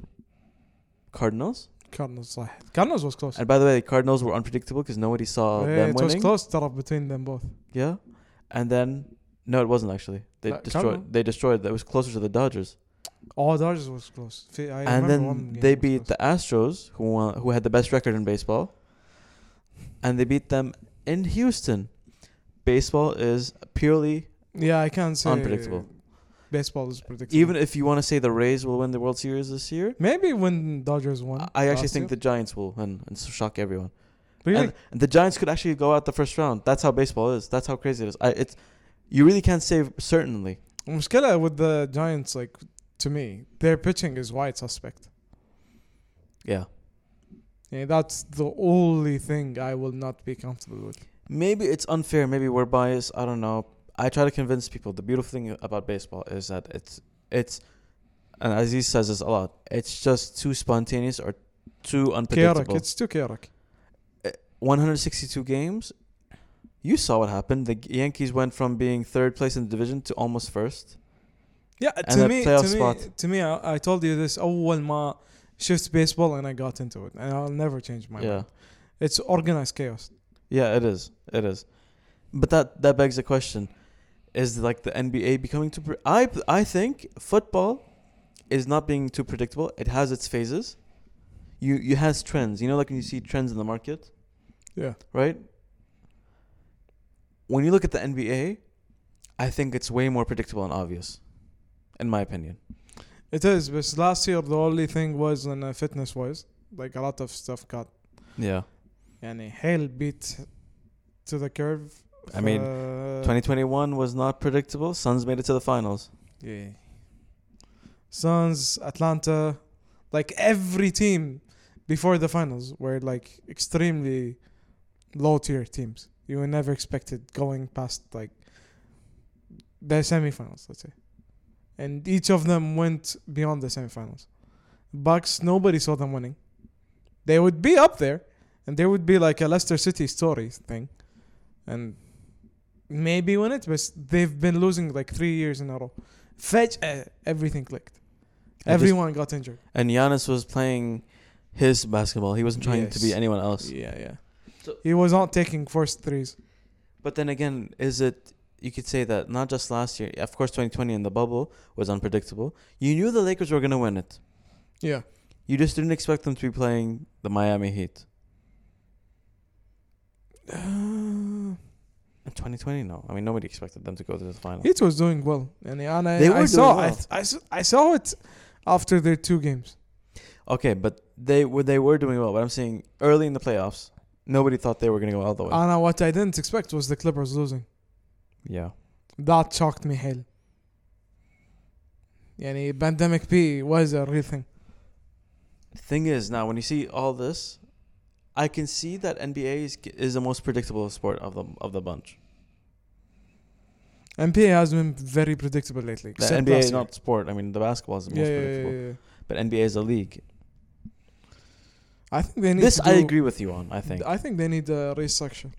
Cardinals. Cardinals صح. Cardinals was close. And by the way, the Cardinals were unpredictable because nobody saw Yeah, them it was winning. close ترى between them both. Yeah. And then no, it wasn't actually. They Uh, Cardinal? destroyed. They destroyed. That was closer to the Dodgers. Oh, Dodgers was close. Fi- I remember and then one game they was beat close. the Astros, who won, who had the best record in baseball, and they beat them in Houston. Baseball is purely Yeah, I can't say. unpredictable. Baseball is predictable. Even if you want to say the Rays will win the World Series this year, Maybe when Dodgers won. I actually last think year. the Giants will win and shock everyone. Really? And, and the Giants could actually go out the first round. That's how baseball is. That's how crazy it is. I, it's you really can't say certainly. Muskela with the Giants, like to me, their pitching is wide suspect. Yeah. Yeah, that's the only thing I will not be comfortable with. Maybe it's unfair. Maybe we're biased. I don't know. I try to convince people. The beautiful thing about baseball is that it's it's, and Aziz says this a lot. It's just too spontaneous or too Chaotic. unpredictable. It's too chaotic. 162 games. You saw what happened. The Yankees went from being third place in the division to almost first. Yeah, And to the me, to playoff me, spot. to me, I, I told you this. oh, أول ما shift baseball and I got into it, and I'll never change my yeah. mind. It's organized chaos. Yeah, it is. It is. But that that begs the question: Is like the NBA becoming too? Pre- I I think football is not being too predictable. It has its phases. You you has trends. You know, like when you see trends in the market, Yeah, right? When you look at the NBA, I think it's way more predictable and obvious, in my opinion. it is. But last year, the only thing was in uh, fitness wise, like a lot of stuff got. Yeah. يعني hell beat to the curve. I mean, uh, 2021 was not predictable. Suns made it to the finals. Yeah. Suns, Atlanta, like every team before the finals were like extremely low tier teams. You were never expected going past like the semifinals, let's say. And each of them went beyond the semifinals. Bucks, nobody saw them winning. They would be up there, and there would be like a Leicester City story thing, and maybe win it. But they've been losing like three years in a row. Fetch uh, everything clicked. I just- Everyone got injured. and Giannis was playing his basketball. He wasn't trying to be Yes. anyone else. Yeah, yeah. So- he was not taking first threes. But then again, is it you could say that not just last year, of course 2020 in the bubble was unpredictable. You knew the Lakers were going to win it. Yeah, You just didn't expect them to be playing the Miami Heat. uh, In 2020, no. I mean, nobody expected them to go to the final. it was doing well, and, and I, They were I saw doing I, well. I s- I saw it after their two games. Okay, but they were they were doing well, but I'm saying early in the playoffs, nobody thought they were going to go all the way. And uh, what I didn't expect was the Clippers losing. yeah. That shocked me hell. يعني pandemic P was a real thing. Thing is, now when you see all this, I can see that NBA is, is the most predictable sport of the of the bunch. NBA has been very predictable lately. The except NBA last is year. not sport. I mean, the basketball is the yeah, most yeah, predictable, yeah, yeah. but NBA is a league. I think they need This to do, I agree with you on. I think I think they need a restructure.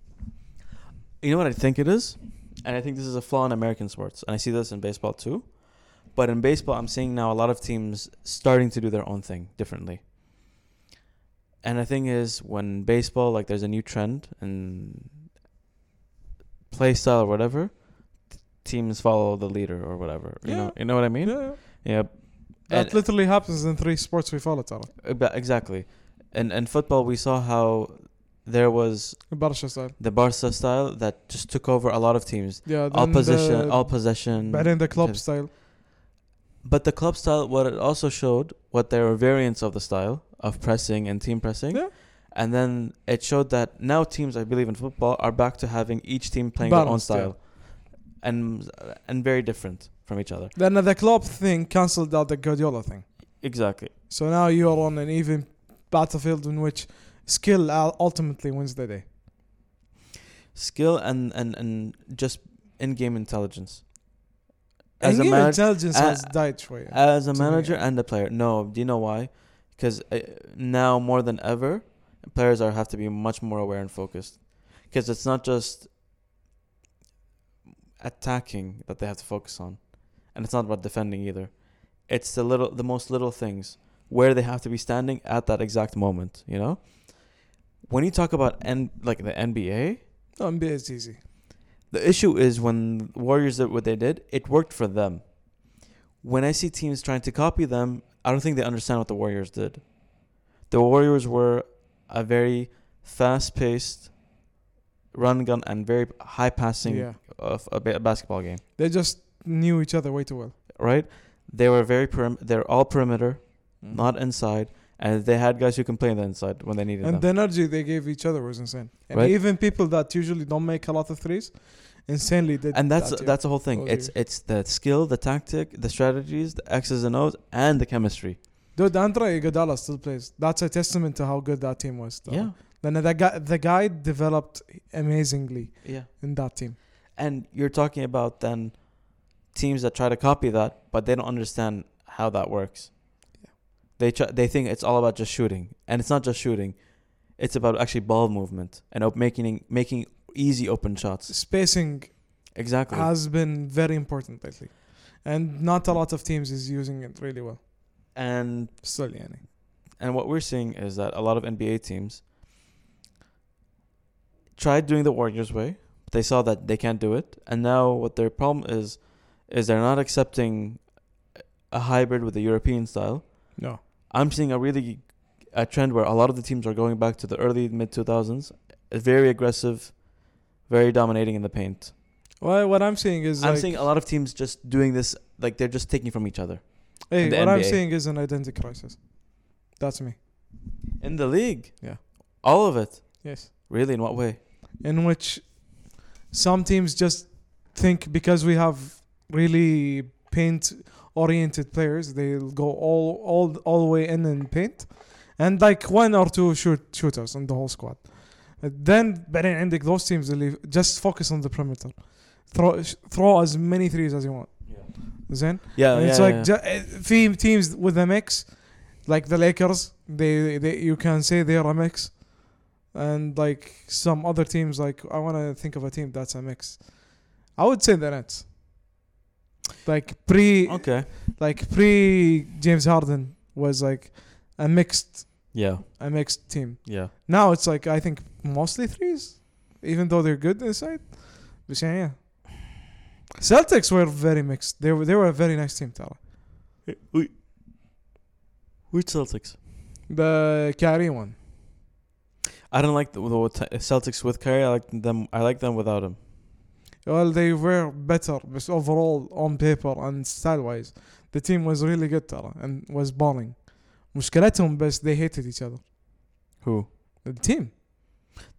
you know what I think it is, and I think this is a flaw in American sports, and I see this in baseball too. But in baseball, I'm seeing now a lot of teams starting to do their own thing differently. And the thing is, when baseball, like, there's a new trend and play style or whatever, t- teams follow the leader or whatever. You know, Yeah. you know what I Yeah, mean? yeah. Yeah. that And- literally happens in three sports we follow. Tara. Eba- Exactly. And in football, we saw how there was Barca style. the Barca style that just took over a lot of teams. Yeah, All then position, the- all possession. But in the club Okay. style, But the club style, what it also showed, what there were variants of the style of pressing and team pressing. Yeah. And then it showed that now teams, I believe in football, are back to having each team playing Balanced, yeah. their own style, and and very different from each other. then the club thing cancelled out the Guardiola thing. Exactly. So now you are on an even battlefield in which skill ul- ultimately wins the day. Skill and and and just in-game intelligence. As As a man, intelligence uh, has died شوية. As a to me, manager yeah. and a player. No, do you know why? Because uh, now more than ever, players are have to be much more aware and focused. Because it's not just attacking that they have to focus on, and it's not about defending either. It's the little, the most little things where they have to be standing at that exact moment. You Oh, know, when you talk about and like the NBA, No, NBA is easy. The issue is when Warriors did what they did, it worked for them. When I see teams trying to copy them, I don't think they understand what the Warriors did. The Warriors were a very fast-paced run gun and very high passing Yeah. of a ba- basketball game, They just knew each other way too well. right? They were very perim- they're all perimeter, Mm-hmm. not inside, and they had guys who can play on the inside when they needed And them. the energy they gave each other was insane. And Right. even people that usually don't make a lot of threes, insanely did. and that's that, yeah. that's the whole thing. Those It's years. it's the skill, the tactic, the strategies, the X's and O's, and the chemistry. dude. Andre Iguodala still plays. That's a testament to how good that team was. though. Then the guy, the guy developed amazingly yeah. in that team. And you're talking about then teams that try to copy that, but they don't understand how that works. Yeah. They try, they think it's all about just shooting, and it's not just shooting; it's about actually ball movement and op- making making easy open shots. Spacing Exactly. has been very important lately, and not a lot of teams is using it really well. and Still, yani. and what we're seeing is that a lot of NBA teams tried doing the Warriors way. But they saw that they can't do it, and now what their problem is is they're not accepting a hybrid with the European style. No, I'm seeing a really a trend where a lot of the teams are going back to the early mid 2000s, very aggressive, very dominating in the paint. well, what I'm seeing is I'm like, seeing a lot of teams just doing this like they're just taking from each other hey, in the what I'm NBA. seeing is an identity crisis. That's me. in the league. Yeah. all of it. Yes. Really, in what way? in which some teams just think because we have really paint oriented players they'll go all all all the way in and paint and like one or two shoot shooters in the whole squad Uh, then بعدين عندك those teams اللي just focus on the perimeter throw throw as many threes as you want Yeah, زين yeah, and it's Oh, yeah, like yeah. ju- uh, في teams with a mix like the Lakers they, they you can say they're a mix and like some other teams like I want to think of a team that's a mix I would say the Nets like pre okay, like pre James Harden was like a mixed yeah, a mixed team yeah. now it's like I think mostly threes even though they're good inside but yeah, yeah. Celtics were very mixed they were they were a very nice team ترى Which Eh, Celtics? The Kyrie one. I don't like the, the Celtics with Kyrie. I like them. I like them without him. Well, they were better, but overall, on paper and style-wise, the team was really good ترى and was balling. مشكلتهم بس they hated each other. Who? The team.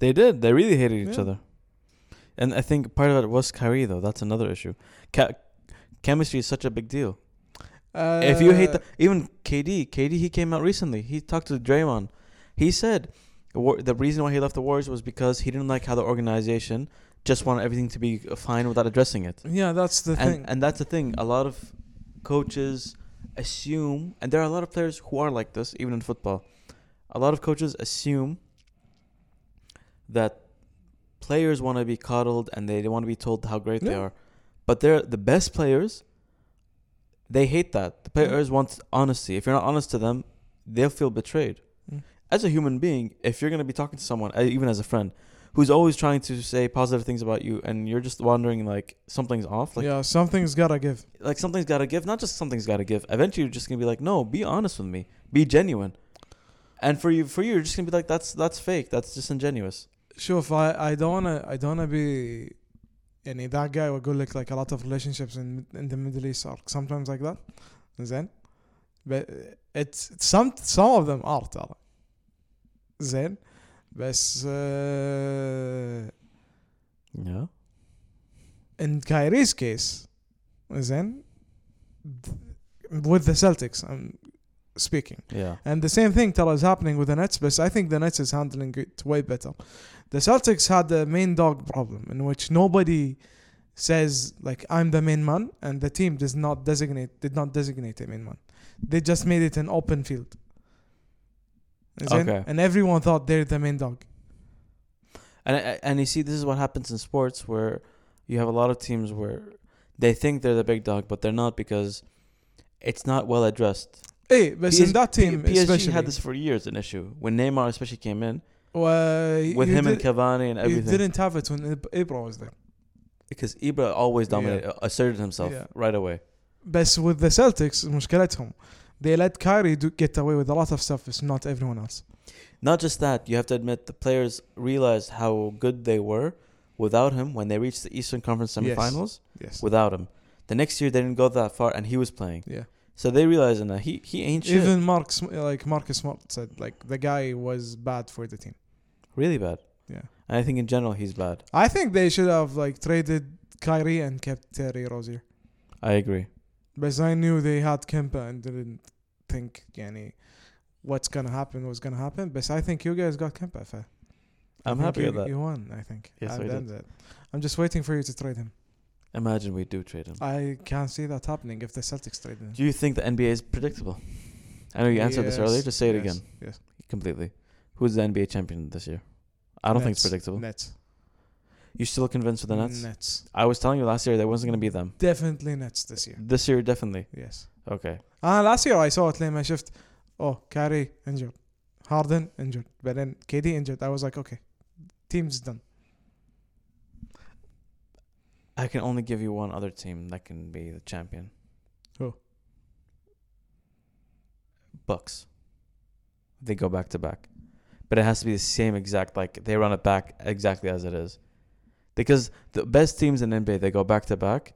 They did. They really hated each Yeah. other. And I think part of it was Kyrie, though. That's another issue. Ca- chemistry is such a big deal. Uh, if you hate the, even KD, KD, he came out recently. He talked to Draymond. He said the war- the reason why he left the Warriors was because he didn't like how the organization just wanted everything to be fine without addressing it. Yeah, that's the thing. And, and that's the thing. A lot of coaches assume, and there are a lot of players who are like this, even in football. A lot of coaches assume that players want to be coddled and they want to be told how great they Yeah. are. But they're the best players. They hate that. The players want honesty. If you're not honest to them, they'll feel betrayed. Mm. As a human being, if you're going to be talking to someone, uh, even as a friend, who's always trying to say positive things about you and you're just wondering like something's off, like yeah, something's gotta give. like something's got to give, not just something's got to give. Eventually you're just going to be like, "No, be honest with me. Be genuine." And for you for you you're just going to be like, "That's that's fake. That's disingenuous." شوف I, I don't wanna I don't wanna be يعني that guy واقول لك like a lot of relationships in in the Middle East are sometimes like that. زين but it's some some of them are ترى زين بس uh, Yeah. in Kyrie's case زين with the Celtics I'm speaking Yeah. And the same thing ترى is happening with the Nets but I think the Nets is handling it way better. The Celtics had the main dog problem in which nobody says like I'm the main man and the team does not designate did not designate a main man. They just made it an open field. زين؟ Okay. And everyone thought they're the main dog. And I- I- and you see, this is what happens in sports where you have a lot of teams where they think they're the big dog, but they're not because it's not well addressed. Hey, but in that team P- PSG especially had this for years an issue when Neymar especially came in well, with you him did- and Cavani and you everything. didn't have it when Ibra was there. because Ibra always dominated, asserted himself Yeah. right away. بس with the Celtics مشكلتهم they let Kyrie do get away with a lot of stuff it's not everyone else Not just that, you have to admit the players realized how good they were without him when they reached the Eastern Conference Yes. semifinals yes without him. The next year they didn't go that far and he was playing. yeah So they realized that he he ain't shit. even Mark Sm- like Marcus Smart said like the guy was bad for the team really bad. Yeah. And I think in general he's bad. I think they should have like traded Kyrie and kept Terry Rozier I agree. but I knew they had Kempa and didn't think يعني what's gonna happen was gonna happen but I think you guys got Kempa fair I'm happy with you, that. you won I think Yes, And I then that- I'm just waiting for you to trade him Imagine we do trade him. I can't see that happening if the Celtics trade him Do you think the NBA is predictable? I know you answered this Yes, earlier. Just say it yes, again Yes. completely. Who's the NBA champion this year? I don't think it's Nets, predictable. Nets. You still convinced with the Nets? Nets. I was telling you last year there wasn't going to be them. Definitely Nets this year. This year, definitely. Yes. Okay. Ah, last year I saw it lame. I shift. Oh, Kyrie injured. Harden injured. But then KD injured. I was like, okay, team's done. I can only give you one other team that can be the champion. Who? Bucks. They go back to back. But it has to be the same exact like they run it back exactly as it is. Because the best teams in NBA they go back to back.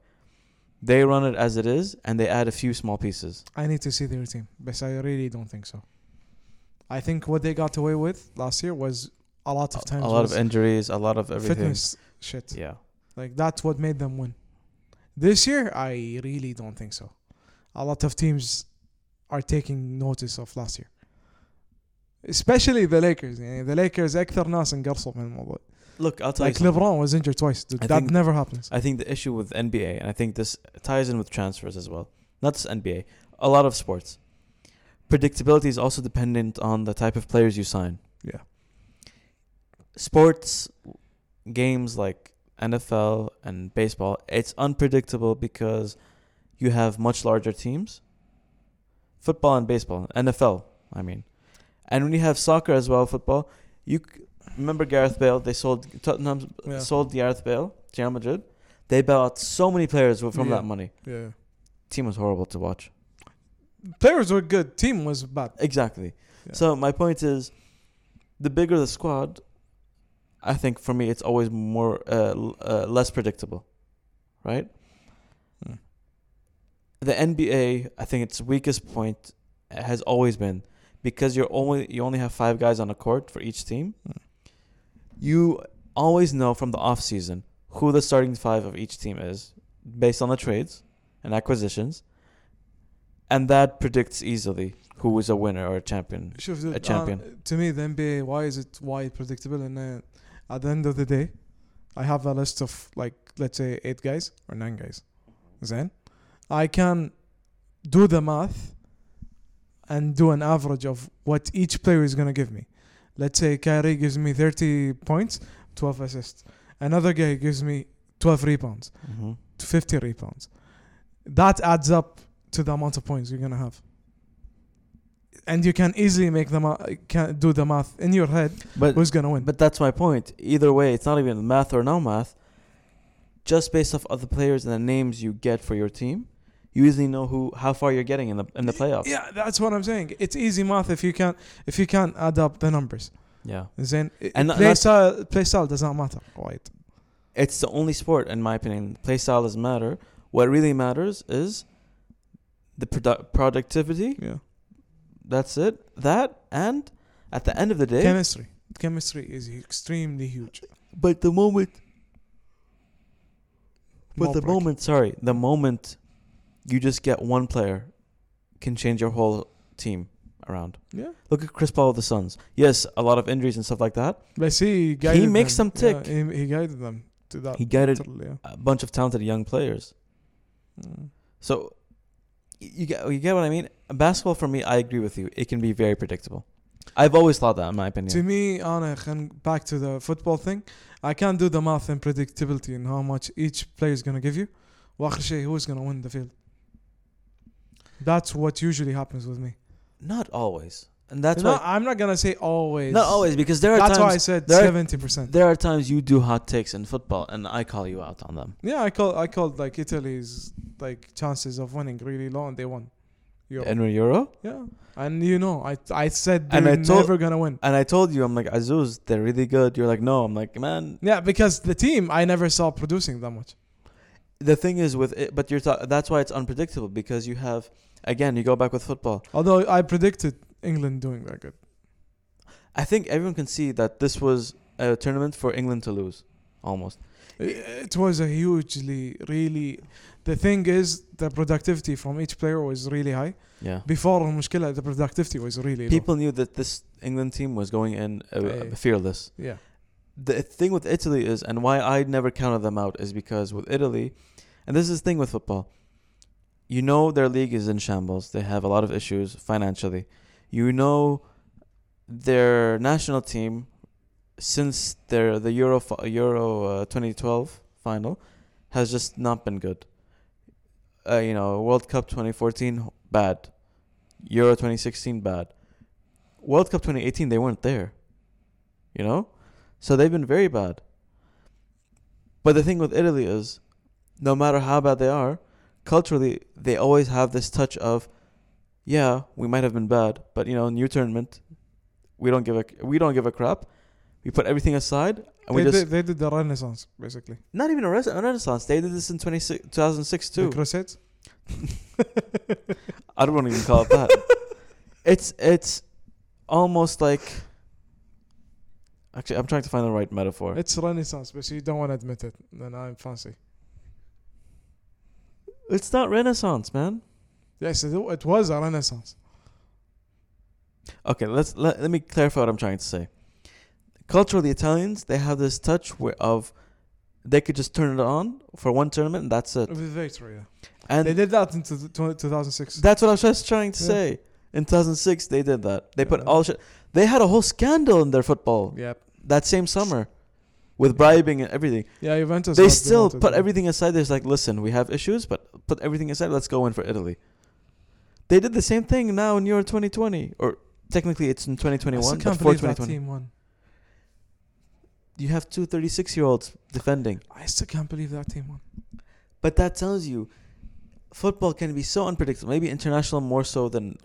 They run it as it is and they add a few small pieces. I need to see their team, but I really don't think so. I think what they got away with last year was a lot of A times lot was of injuries, a lot of everything. fitness shit. Yeah. Like that's what made them win. This year, I really don't think so. A lot of teams are taking notice of last year, especially the Lakers. يعني the Lakers أكثر ناس انقرصوا من الموضوع. Look, I'll tell Like you. something. LeBron was injured twice. Dude, I that think- never happens. I think the issue with NBA, and I think this ties in with transfers as well, not just NBA, a lot of sports. Predictability is also dependent on the type of players you sign. Yeah. Sports games like NFL and baseball, it's unpredictable because you have much larger teams. Football and baseball, NFL, I mean. And when you have soccer as well, football, you c- remember Gareth Bale, they sold Tottenham Yeah. sold Gareth Bale, to Real Madrid. They bailed out so many players from Yeah. that money. Yeah. Team was horrible to watch. Players were good. Team was bad. Eh, Exactly. Yeah. So my point is, the bigger the squad, I think for me it's always more uh, l- uh, less predictable, right? Hmm. The NBA, I think its weakest point has always been because you're only you only have five guys on a court for each team. Hmm. You always know from the off season who the starting five of each team is based on the trades and acquisitions, and that predicts easily who is a winner or a champion. شوف dude, A champion. uh, to me, the NBA, why is it why predictable? And uh, at the end of the day, I have a list of like let's say eight guys or nine guys. Then I can do the math and do an average of what each player is gonna give me. Let's say Kyrie gives me 30 points, 12 assists. Another guy gives me 12 rebounds, 50 rebounds. That adds up to the amount of points you're gonna have. And you can easily make the ma- can do the math in your head But who's gonna win. but that's my point. Either way, it's not even math or no math. Just based off of the players and the names you get for your team, you easily know who how far you're getting in the in the playoffs. Yeah, that's what I'm saying. It's easy math if you can if you can add up the numbers. Yeah. Then And and not- play style play style does not matter. Right. It's the only sport in my opinion. Play style doesn't matter. What really matters is the produ- productivity. Yeah. That's it. That and at the end of the day, Chemistry. Chemistry is extremely huge. but the moment But More the break. moment, sorry, the moment you just get one player can change your whole team around. Yeah. Look at Chris Paul with the Suns. Yes, a lot of injuries and stuff like that. But see, he guided makes them. them Yeah, tick. he, he guided them to that. He guided totally, yeah. a bunch of talented young players. Mm. So y- you get you get what I mean? Basketball for me, I agree with you. It can be very predictable. I've always thought that in my opinion. To me, Anna, and back to the football thing, I can't do the math and predictability and how much each player is going to give you. واخر شيء who's going to win the field. That's what usually happens with me. Not always. and that's no, why I'm not gonna say always. not always because there are That's why I times said there are- seventy percent. there are times you do hot takes in football, and I call you out on them. Yeah, I call I called like Italy's like chances of winning really low, and they won. Yo. In Euro, yeah, and you know, I I said they're And I told- never gonna win. and I told you, I'm like Azuz, they're really good. You're like, no, I'm like, man. Yeah, because the team I never saw producing that much. The thing is with it, but you're ta- that's why it's unpredictable because you have again, you go back with football. Although I predicted England doing that good. I think everyone can see that this was a tournament for England to lose, almost. It, it was a hugely, really. The thing is, the productivity from each player was really high. Yeah. Before المشكلة, the productivity was really People knew that this England team was going in uh, Aye. fearless. low. Yeah, The thing with Italy is, and why I never counted them out, is because with Italy, and this is the thing with football, you know their league is in shambles. They have a lot of issues financially. You know their national team, since their the Euro fi- Euro uh, 2012 final, has just not been good. Uh, you know, World Cup 2014 bad, Euro 2016 bad, World Cup 2018 they weren't there. You know, so they've been very bad. But the thing with Italy is, no matter how bad they are, culturally they always have this touch of, yeah, we might have been bad, but you know, new tournament, we don't give a we don't give a crap. We put everything aside and we they, just did, they did the renaissance basically. not even a, res- a renaissance. They did this in 26 2006 The too. Crusades. I don't want to even call it that. [LAUGHS] it's it's almost like actually I'm trying to find the right metaphor. It's renaissance, but you don't want to admit it. And I'm fancy. It's not renaissance, man. Yes, it, it was a renaissance. Okay, let's let, let me clarify what I'm trying to say. Culturally, Italians they have this touch where of they could just turn it on for one tournament and that's it. With victory, yeah. And they did that in two- two- 2006. That's what I was just trying to Yeah. say. In 2006, they did that. They put Yeah. all shit. They had a whole scandal in their football Yep. that same summer, with bribing and everything. Yeah, Juventus. They got still demoted. put everything aside. They're just like, listen, we have issues, but put everything aside. Let's go in for Italy. They did the same thing now in Euro 2020, or technically it's in I 2021, still but can't for believe that 2020. team won. You have two 36 year olds defending. I still can't believe that team won. But that tells you football can be so unpredictable. Maybe international more so than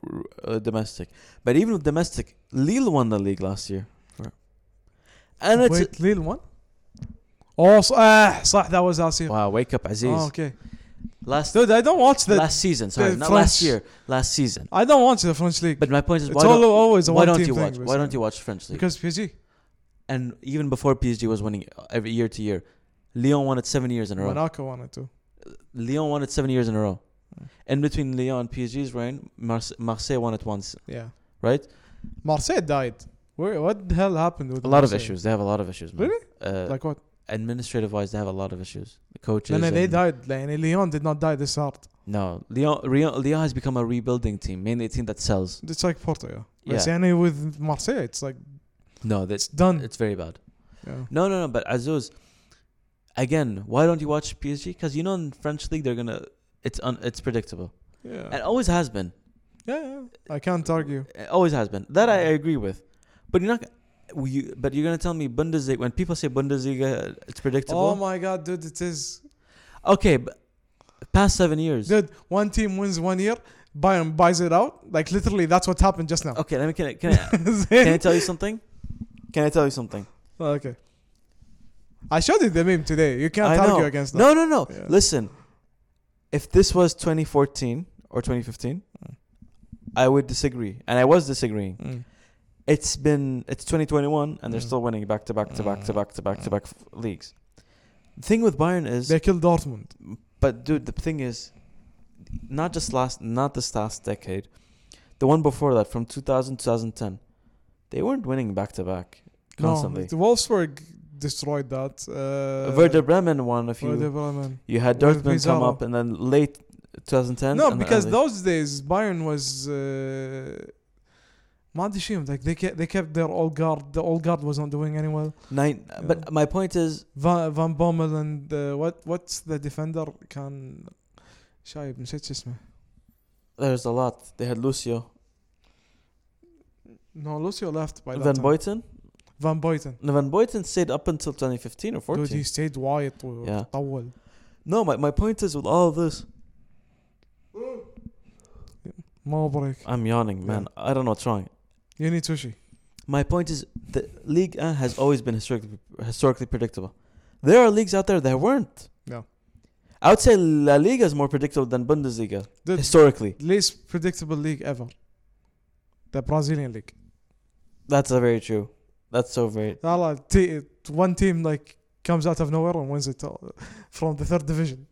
uh, domestic. But even with domestic, Lille won the league last year. And it's Wait, Lille won? Oh, so, ah, صح, that was last year. wow, wake up, Aziz. Oh, okay. Last Dude, I don't watch the. last season, sorry, the not last French- year, last season. I don't watch the French league. But my point is, it's why all, don't, always a why one don't team you thing, watch? Why basically. don't you watch French league? Because PSG and even before PSG was winning every year to year, Lyon won it seven years in a row. Monaco won it too. Lyon won it seven years in a row. Hmm. In between Lyon and PSG's reign, Marse- Marseille won it once, Yeah. right? Marseille died. Where? What the hell happened with A lot of Marseille? issues. They have a lot of issues, man. Really? Uh, Like what? administrative wise, they have a lot of issues. The coaches. No, no, they and- died. Like, and Lyon did not die this hard. No, Lyon, Lyon, Lyon has become a rebuilding team, mainly a team that sells. It's like Porto, yeah. Yeah. But يعني with Marseille, it's like No, it's that's done. it's very bad. yeah. No, no, no. But Azuz, again, why don't you watch PSG? Because you know in French league they're gonna. It's un, it's predictable. Yeah. It always has been. yeah, yeah. I can't argue. It always has been. That I agree with. But you're not. will You, but you're gonna tell me Bundesliga when people say Bundesliga, it's Oh predictable. my god, dude, it is. okay, but past seven years. Dude, one team wins one year, Bayern buys it out. Like literally, that's what happened just now. Okay, let me. Can I, can I, Can I tell you something? [LAUGHS] Can I tell you something? Oh, okay. I showed you the meme today. You can't I argue know. against that. No, no, no. Yeah. Listen, if this was 2014 or 2015, I would disagree, and I was disagreeing. Mm. It's been it's 2021, and they're Mm. still winning back to back to back to Mm. back to back to back f- leagues. The thing with Bayern is, They killed Dortmund. but dude, the thing is, not just last, not this last decade, the one before that, from 2000 2010, they weren't winning back to back constantly. No, the Wolfsburg destroyed that. Uh, Werder Bremen won a few. Werder Bremen. You had With Dortmund come Pizarro. up, and then late 2010. No, and because early- those days Bayern was. Uh, ما أدري شو، like they kept they kept their old guard. The old guard was not doing any well. nine. Yeah. But my point is, Van, Van Bommel and uh, what what's the defender كان شايب نسيت شو اسمه. there's a lot. They had Lucio. No, Lucio left by that Van time. Boyten? Van Boyten. No, Van Boyten stayed up until 2015 or 14. Dude, he stayed uh, wide. Yeah. طول. No, my, my point is with all of this, ما بريك. I'm yawning, man. I don't know what's wrong. You need sushi. My point is the league uh, has always been historically historically predictable. There are leagues out there that weren't. No. I would say La Liga is more predictable than Bundesliga The historically. least predictable league ever. The Brazilian league. That's a very true. That's so very. Allah, t- one team like comes out of nowhere and wins it all [LAUGHS] from the third division.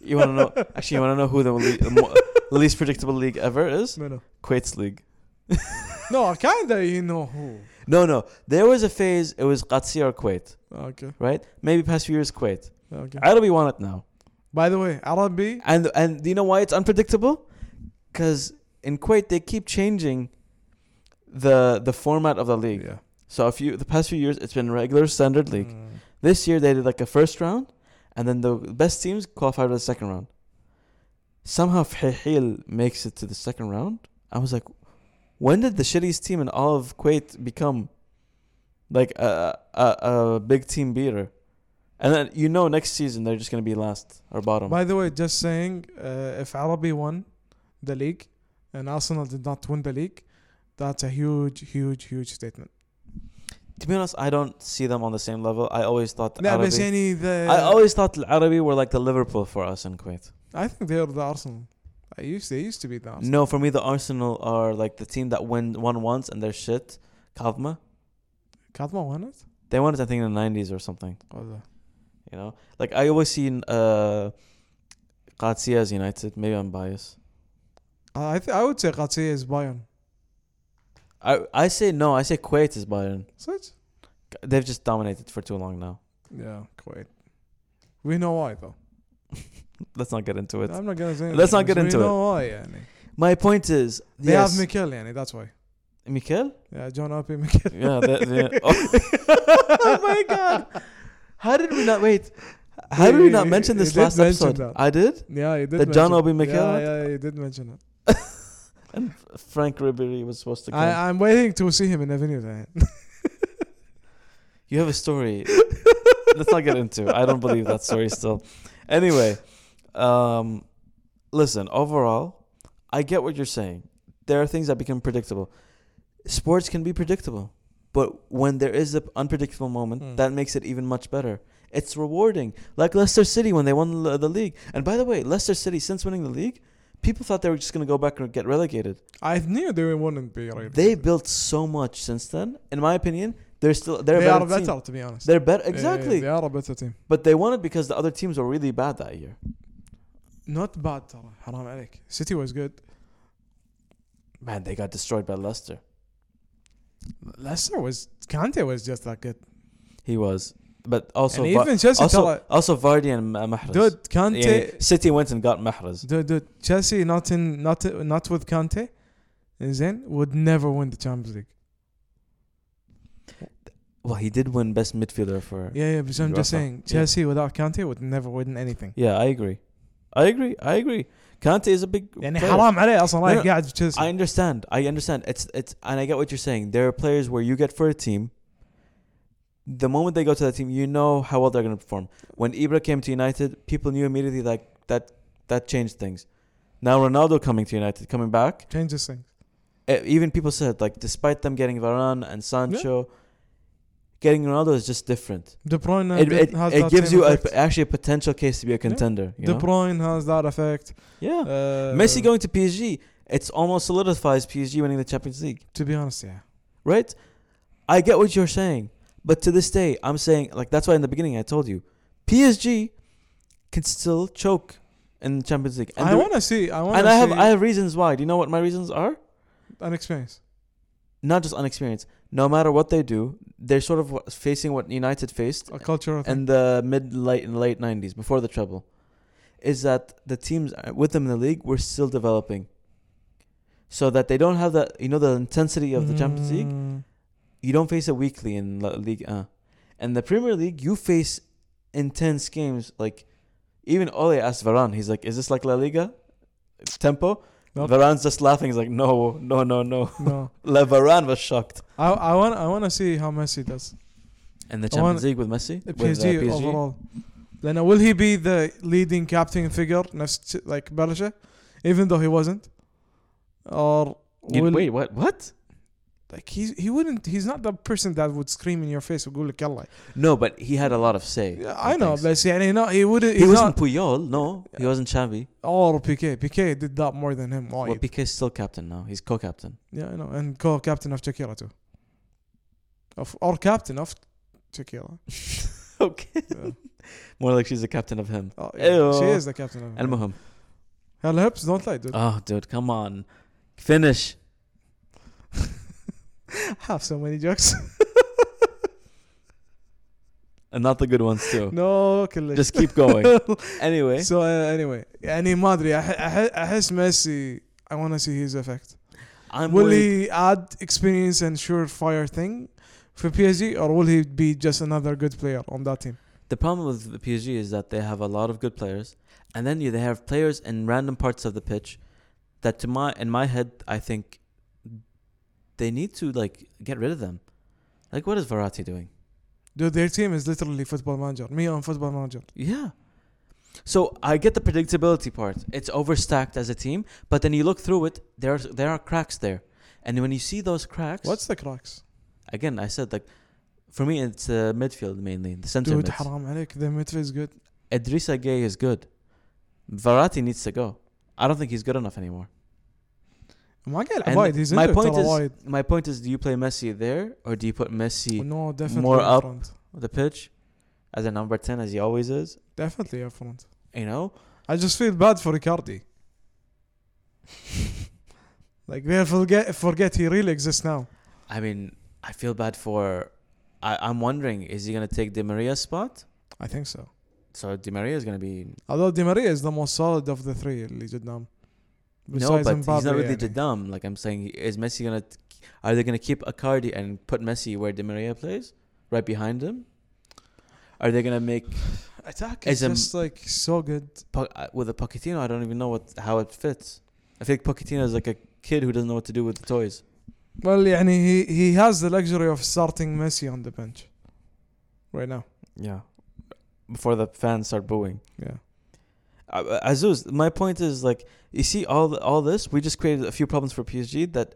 You want to [LAUGHS] know? Actually, you want to know who the le- mo- least predictable league ever is? No, no. Kuwait's league. No, kinda you know who. No, no. There was a phase. It was Qatar or Kuwait, Okay, right? Maybe past few years Kuwait. okay. Arabi won it now. By the way, Arabi. And and do you know why it's unpredictable? Because in Kuwait they keep changing the the format of the league. Yeah. So a few the past few years it's been regular standard league. Mm. This year they did like a first round, and then the best teams qualified for the second round. Somehow Fihil makes it to the second round. I was like, when did the shittiest team in all of Kuwait become like a a, a big team beater? And then you know next season they're just gonna be last or bottom. By the way, just saying, uh, if Arabi won the league and Arsenal did not win the league, that's a huge, huge, huge statement. To be honest, I don't see them on the same level. I always thought the لا Arabi, بس يعني the I always thought the Arabi were like the Liverpool for us in Kuwait. I think they are the Arsenal. I used they used to be the Arsenal. No, for me the Arsenal are like the team that win won once and they're shit. Kavma, Kadma won it. they won it I think in the nineties or something. Or You know, like I always seen uh, Qatia as United. Maybe I'm biased. uh, I th- I would say Qatar is Bayern. I I say no. I say Kuwait is Bayern. Such? They've just dominated for too long now. Yeah, Kuwait. We know why though. Let's not get into it. I'm not gonna say. Let's not anything, get because into we it. know why, يعني. My point is, They yes, have Mikel, يعني. That's why. Mikel. Yeah, John Oppie Mikel. Yeah. They, [LAUGHS] they, oh. [LAUGHS] oh my [LAUGHS] god. How did we not wait? How did we not mention this You did last mention episode? that. I did. Yeah, you did. The John mention- Obi Mikel Yeah, one? yeah, you did mention it. And Frank Ribery was supposed to come. I, I'm waiting to see him in Avenue. Then. [LAUGHS] you have a story. Let's not get into. it. I don't believe that story still. Anyway, um, listen. Overall, I get what you're saying. There are things that become predictable. Sports can be predictable, but when there is an unpredictable moment, Mm. that makes it even much better. It's rewarding, like Leicester City when they won the the league. And by the way, Leicester City since winning the league, people thought they were just going to go back and get relegated. I knew they wouldn't be. Really They built so much since then. In my opinion, they're still they're They a are better. team. better, to be honest. They're better Yeah, exactly. They are a better team. But they won it because the other teams were really bad that year. Not bad, ترى. حرام عليك. City was good. Man, they got destroyed by Leicester. Leicester was. Kante was just that good. He was, but also and Va- even Chelsea, also, ترى. also Vardy and Ma- Mahrez. Dude, Kante. Yeah, City went and got Mahrez. Dude, dude, Chelsea not in not not with Kante, Zen would never win the Champions League. Well, he did win best midfielder for. Yeah, Yeah, yeah, but I'm UEFA, just saying yeah. Chelsea without Kante would never win anything. I agree, I agree, I agree. Kante is a big. يعني player. حرام عليه اصلا No, رايح no. قاعد في I تشيلسي. understand. I understand. It's it's and I get what you're saying. There are players where you get for a team. The moment they go to that team, you know how well they're going to perform. When Ibra came to United, people knew immediately like that that changed things. Now Ronaldo coming to United, coming back, Changes things. eh, even people said like despite them getting Varane and Sancho, getting Ronaldo is just different. De Bruyne It did- it, has it that gives same you a, effect. actually a potential case to be a contender. you De know? Bruyne has that effect. yeah. Uh, Messi going to PSG, it's almost solidifies PSG winning the Champions League. to be honest, yeah. right? I get what you're saying, but to this day, I'm saying like that's why in the beginning I told you, PSG can still choke in the Champions League, and, I the- want to see. I want and to I see have I have reasons why. Do you know what my reasons are? an experience. Not just unexperience. No matter what they do, they're sort of what- facing what United faced A cultural thing. in the mid late late 90s before the treble is that the teams with them in the league were still developing so that they don't have that you know the intensity of the Champions League Mm, you don't face it weekly in La Ligue 1. And the Premier League, you face intense games. Like, even Ole asked Varane, he's like, is this like La Liga? Tempo? Nope. Varane's just laughing. He's like, no, no, no, no. [LAUGHS] No, Le Varane was shocked. I I want I want to see how Messi does. And the I want- Champions League with Messi? The With, PSG, uh, PSG? overall. لأنه will he be the leading captain figure نفس ش- like Berger, even though he wasn't, or You- will wait, what? What? like he he wouldn't he's not the person that would scream in your face ويقول لك يلا. No, but he had a lot of say. Yeah, on I know, things. but يعني no he wouldn't. he He's wasn't not Puyol. No, he wasn't Xavi. or PK. PK did that more than him. Well, وايد. PK's still captain now. He's [LAUGHS] co-captain. [LAUGHS] Yeah, I know. And co-captain of Shakira too. Of or captain of Shakira. okay. [LAUGHS] Yeah. More like she's the captain of him. Oh, yeah. She Ew. is the captain of. Al Muhim. Her lips don't lie, [LAUGHS] dude. Oh, dude, come on. Finish. Have so many jokes. And not the good ones, too. no, كلش. Oh. Just keep [LAUGHS] going. anyway, So uh, anyway, يعني ما ادري أح- أح- احس ميسي I want to see his effect. I'm will worried. he add experience and surefire thing for PSG or will he be just another good player on that team? The problem with the PSG is that they have a lot of good players, and then you, they have players in random parts of the pitch that, to my in my head, I think they need to like get rid of them. Like, what is Verratti doing? Dude, their team is literally football manager. Me on football manager. Yeah. So I get the predictability part. It's overstacked as a team, but then you look through it. There are there are cracks there, and when you see those cracks, What's the cracks? again? I said like, for me, it's uh, midfield mainly the center. Dude, mids. حرام عليك. The midfield is good. Idrissa Gay is good. Verratti needs to go. I don't think he's good enough anymore. ما قال And وايد. He's my injured point ترى is- وايد. My point is, do you play Messi there or do you put Messi No, definitely more up up. front. on the pitch as a number ten as he always is? Definitely up front. You know, I just feel bad for [LAUGHS] Ricardi. like they forget forget he really exists now. I mean, I feel bad for. I, I'm wondering, is he gonna take Di Maria's spot? I think so. So Di Maria is gonna be Although Di Maria is the most solid of the three اللي قدام. no, but he's not Mbappe really يعني. Jadam. Like I'm saying, is Messi gonna? Are they gonna keep Icardi and put Messi where Di Maria plays, right behind him? Are they gonna [SIGHS] make Attack is is a- just like so good. Po- uh, with a Pochettino? I don't even know what how it fits. I think Pochettino is like a kid who doesn't know what to do with the toys. Well, يعني he he has the luxury of starting Messi on the bench right now. Yeah. Before the fans start booing. Yeah. Uh, Azuz, my point is like you see all th- all this. We just created a few problems for PSG that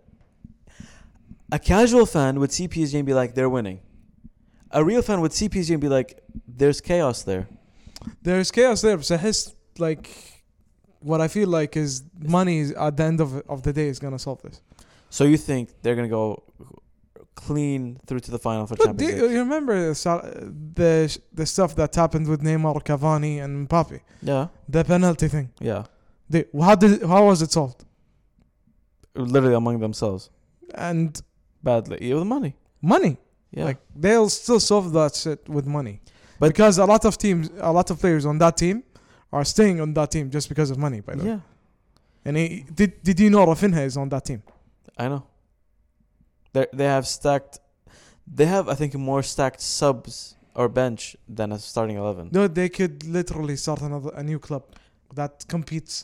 a casual fan would see PSG and be like they're winning. A real fan would see PSG and be like there's chaos there. There's chaos there. So his like what I feel like is money is, at the end of of the day is gonna solve this. So you think they're gonna go clean through to the final for But uh, do Champions League? you, you remember Sal- the the stuff that happened with Neymar, Cavani, and Mbappe? Yeah, The penalty thing. yeah. They, how did how was it solved? Literally among themselves, And badly. Yeah, with money. money. Yeah. Like they'll still solve that shit with money. But- because a lot of teams, a lot of players on that team are staying on that team just because of money. By the way, yeah, and he, did did you know Rafinha is on that team? I know. They they have stacked. They have, I think, more stacked subs or bench than a starting eleven. No, they could literally start another a new club that competes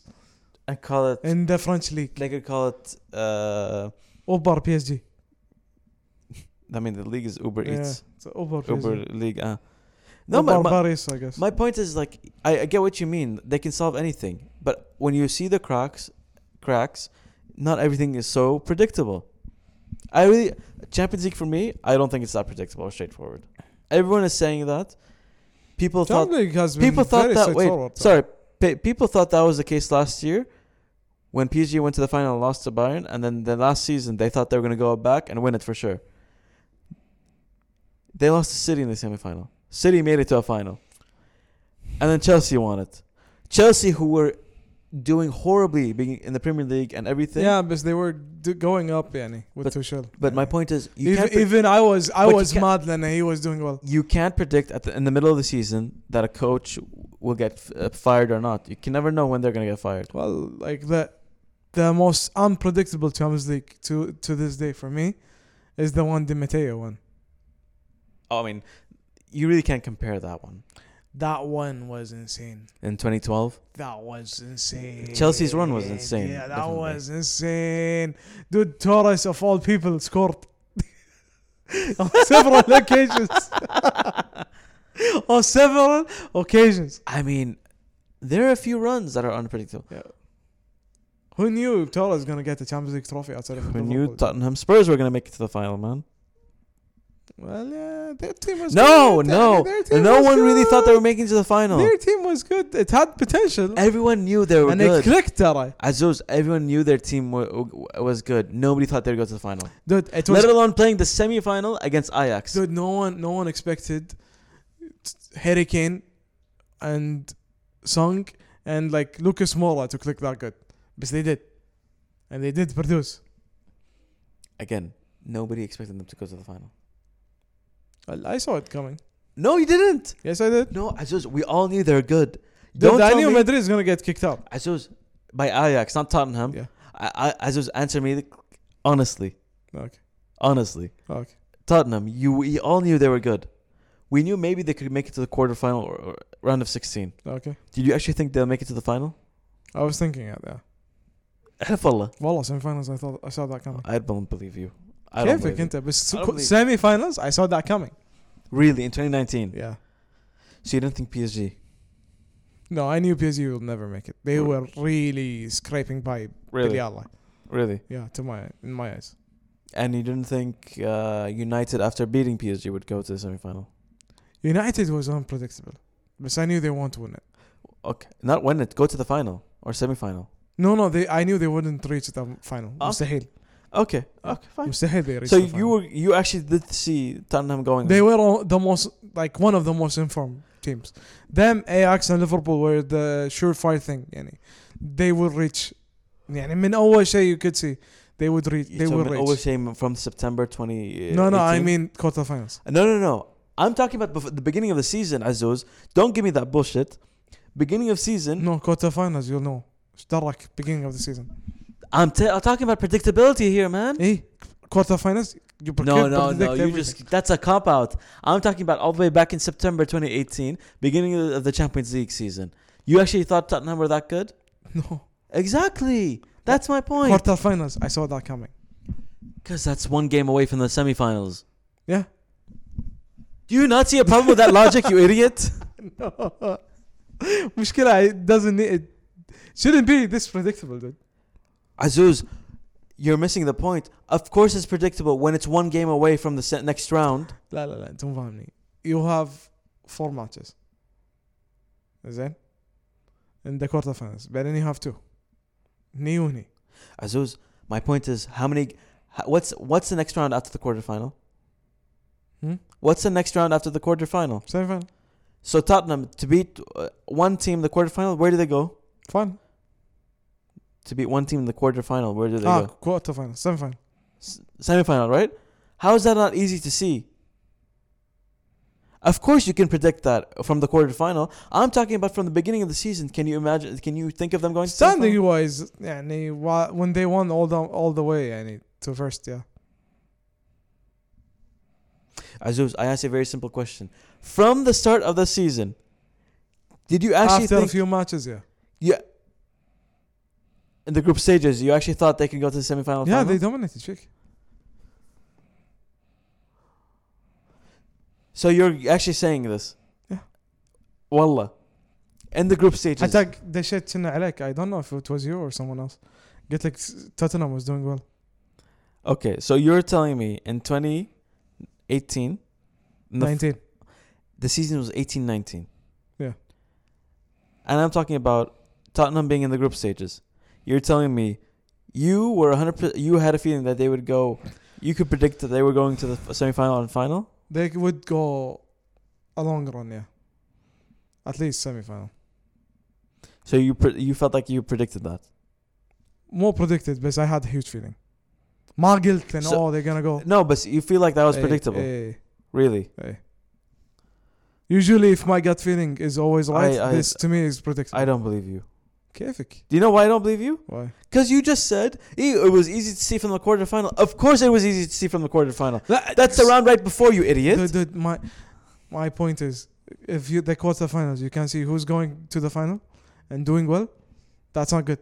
I call it. in the French league. They could call it. Uh, Uber PSG. I mean, the league is Uber Yeah, Eats. it's Uber PSG. Uber League. Uh. No, No, my, my Paris, I guess. my point is like I, I get what you mean. They can solve anything, but when you see the cracks, cracks, not everything is so predictable. I really Champions League for me. I don't think it's that predictable or straightforward. Everyone is saying that. People thought Champions League has been people thought very that wait straightforward, though. sorry pe- people thought that was the case last year when PSG went to the final and lost to Bayern and then the last season they thought they were going to go back and win it for sure they lost to City in the semifinal City made it to a final and then Chelsea won it Chelsea who were doing horribly being in the Premier League and everything Yeah, but they were d- going up, yani, with But- Tuchel. but my يعني. point is you Even, can't pre- even I was, I But you was can't- mad that he was doing well. you can't predict at the, in the middle of the season that a coach will get uh, fired or not you can never know when they're going to get fired Well, like the, the most unpredictable Champions League to to this day for me, is the one Di Matteo one. Oh, I mean, you really can't compare that one. That one was insane. in [LAUGHS] 2012. That was insane. Chelsea's run was insane, Yeah, that definitely. was insane. Dude, Torres of all people scored [LAUGHS] on several [LAUGHS] [LAUGHS] occasions. on several occasions. I mean, there are a few runs that are unpredictable. Who knew Torres was gonna get the Champions League trophy outside of Who knew Liverpool? Tottenham Spurs were going to make it to the final, man? Well, yeah, their team was No, good. no. Their team No was one really thought they were good. making it to the final. Their team was good. It had potential, Everyone knew they were and it good. clicked. ترى. Azuz, everyone knew their team wa- w- was good. Nobody thought they'd go to the final. Dude, it was Let alone playing the semi-final against Ajax. Dude, no one, no one expected Harry Kane and Song and like Lucas Moura to click that good, but they did, and they did produce. Again, nobody expected them to go to the final. Well, I saw it coming. No, you didn't. Yes, I did. No, Azuz, we all knew they're good. Dude, Don't I tell knew me. Madrid is gonna get kicked out. Azuz, by Ajax, not Tottenham. Yeah. I, I, Azuz, answer me the- honestly. Okay, Honestly. okay. Tottenham, you we all knew they were good. We knew maybe they could make it to the quarterfinal or, or round of 16. Okay. Did you actually think they'll make it to the final? I was thinking it. Yeah. Hafallah. Wallah, semifinals. I thought I saw that coming. I don't believe you. I don't كيفك believe you. انت بس I don't believe it. semi-finals I saw that coming. Really, in 2019. Yeah. So you didn't think PSG? No, I knew PSG would never make it. They Really? were really scraping by Really? Bilal. Really? Yeah, to my in my eyes. And you didn't think uh, United, after beating PSG, would go to the semifinal? United was unpredictable. But I knew they won't win it. Okay. Not win it, go to the final or semifinal. No, no, they I knew they wouldn't reach the final. Oh. مستحيل. Okay. Yeah. Okay, fine. مستحيل they reached So the you final. were you actually did see Tottenham going. they were all the most like one of the most informed teams. Them Ajax and Liverpool were the surefire thing يعني. They would reach يعني من اول شيء you could see they would reach they So would I'm reach. always saying from September 20. no, no, I 18? mean quarterfinals. No, no, no. I'm talking about before, the beginning of the season, Azuz. Don't give me that bullshit. Beginning of season. No, quarterfinals, you'll know. ايش دراك beginning of the season. I'm, t- I'm talking about predictability here, man. ايه quarterfinals you No, can't no, predict no. You everything. just that's a cop out. I'm talking about all the way back in September 2018, beginning of the- of the Champions League season. You actually thought Tottenham were that good? no Exactly. That's Oh my point. quarterfinals I saw that coming. Because that's one game away from the semifinals. Yeah. Do you not see a problem with that logic, you [LAUGHS] idiot? [LAUGHS] No. مشكلة it doesn't need it shouldn't be this predictable dude. Azuz, you're missing the point. Of course, it's predictable when it's one game away from the se- next round. لا لا لا انت مو فاهمني. You have four matches. زين؟ In the quarterfinals بعدين you have two. هني وهني. Azuz, my point is how many? ho- What's what's the next round after the quarterfinal? Hmm? What's the next round after the quarterfinal? Semi final. So Tottenham to beat uh, one team in the quarterfinal, where do they go? Fun. To beat one team in the quarterfinal, where do they اه go? quarterfinals semi final. S- semifinal, right? How is that not easy to see? Of course, you can predict that from the quarterfinal. I'm talking about from the beginning of the season. Can you imagine? Can you think of them going? to the Standing final? wise يعني wa- when they won all the all the way يعني to first yeah. Azuz, I asked you a very simple question. From the start of the season, did you actually After a think few matches yeah. in the group stages you actually thought they could go to the semifinal? Yeah final? they dominated شيك. So you're actually saying this? Yeah. Wallah. In the group stages. حتى دشيت كنا عليك I don't know if it was you or someone else. قلت لك Tottenham was doing well. Okay, so you're telling me in 2018, in the, f- 19 the season was 18-19. Yeah. And I'm talking about Tottenham being in the group stages. You're telling me you were 100 you had a feeling that they would go you could predict that they were going to the f- semifinal and final? they would go a long run yeah at least semi-final So you pre- you felt like you predicted that. more predicted but I had a huge feeling ما قلت لأن So- oh they're gonna go No, but you feel like that was Eh, predictable. eh, Really? eh. usually if my gut feeling is always right I- I- this to me is predictable I don't believe you. كيفك Do you know why I don't believe you? why Because you just said "Eh, it was easy to see from the quarterfinal. Of course, it was easy to see from the quarterfinal. لا That's the round right before you, idiot. dude, dude, my my point is if you the quarterfinals, you can see who's going to the final and doing well. That's not good.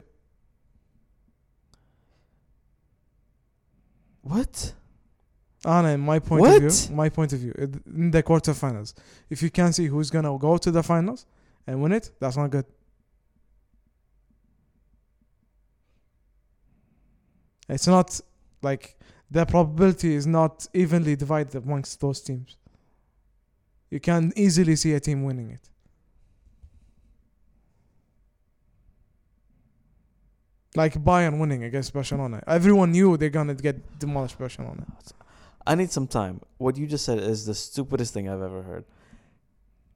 What? Anna, in my point of What? view, my point of view, it- in the quarterfinals, if you can see who's gonna go to the finals and win it, that's not good. It's not like the probability is not evenly divided amongst those teams. You can easily see a team winning it. Like Bayern winning against Barcelona. Everyone knew they're gonna get demolished Barcelona. I need some time. What you just said is the stupidest thing I've ever heard.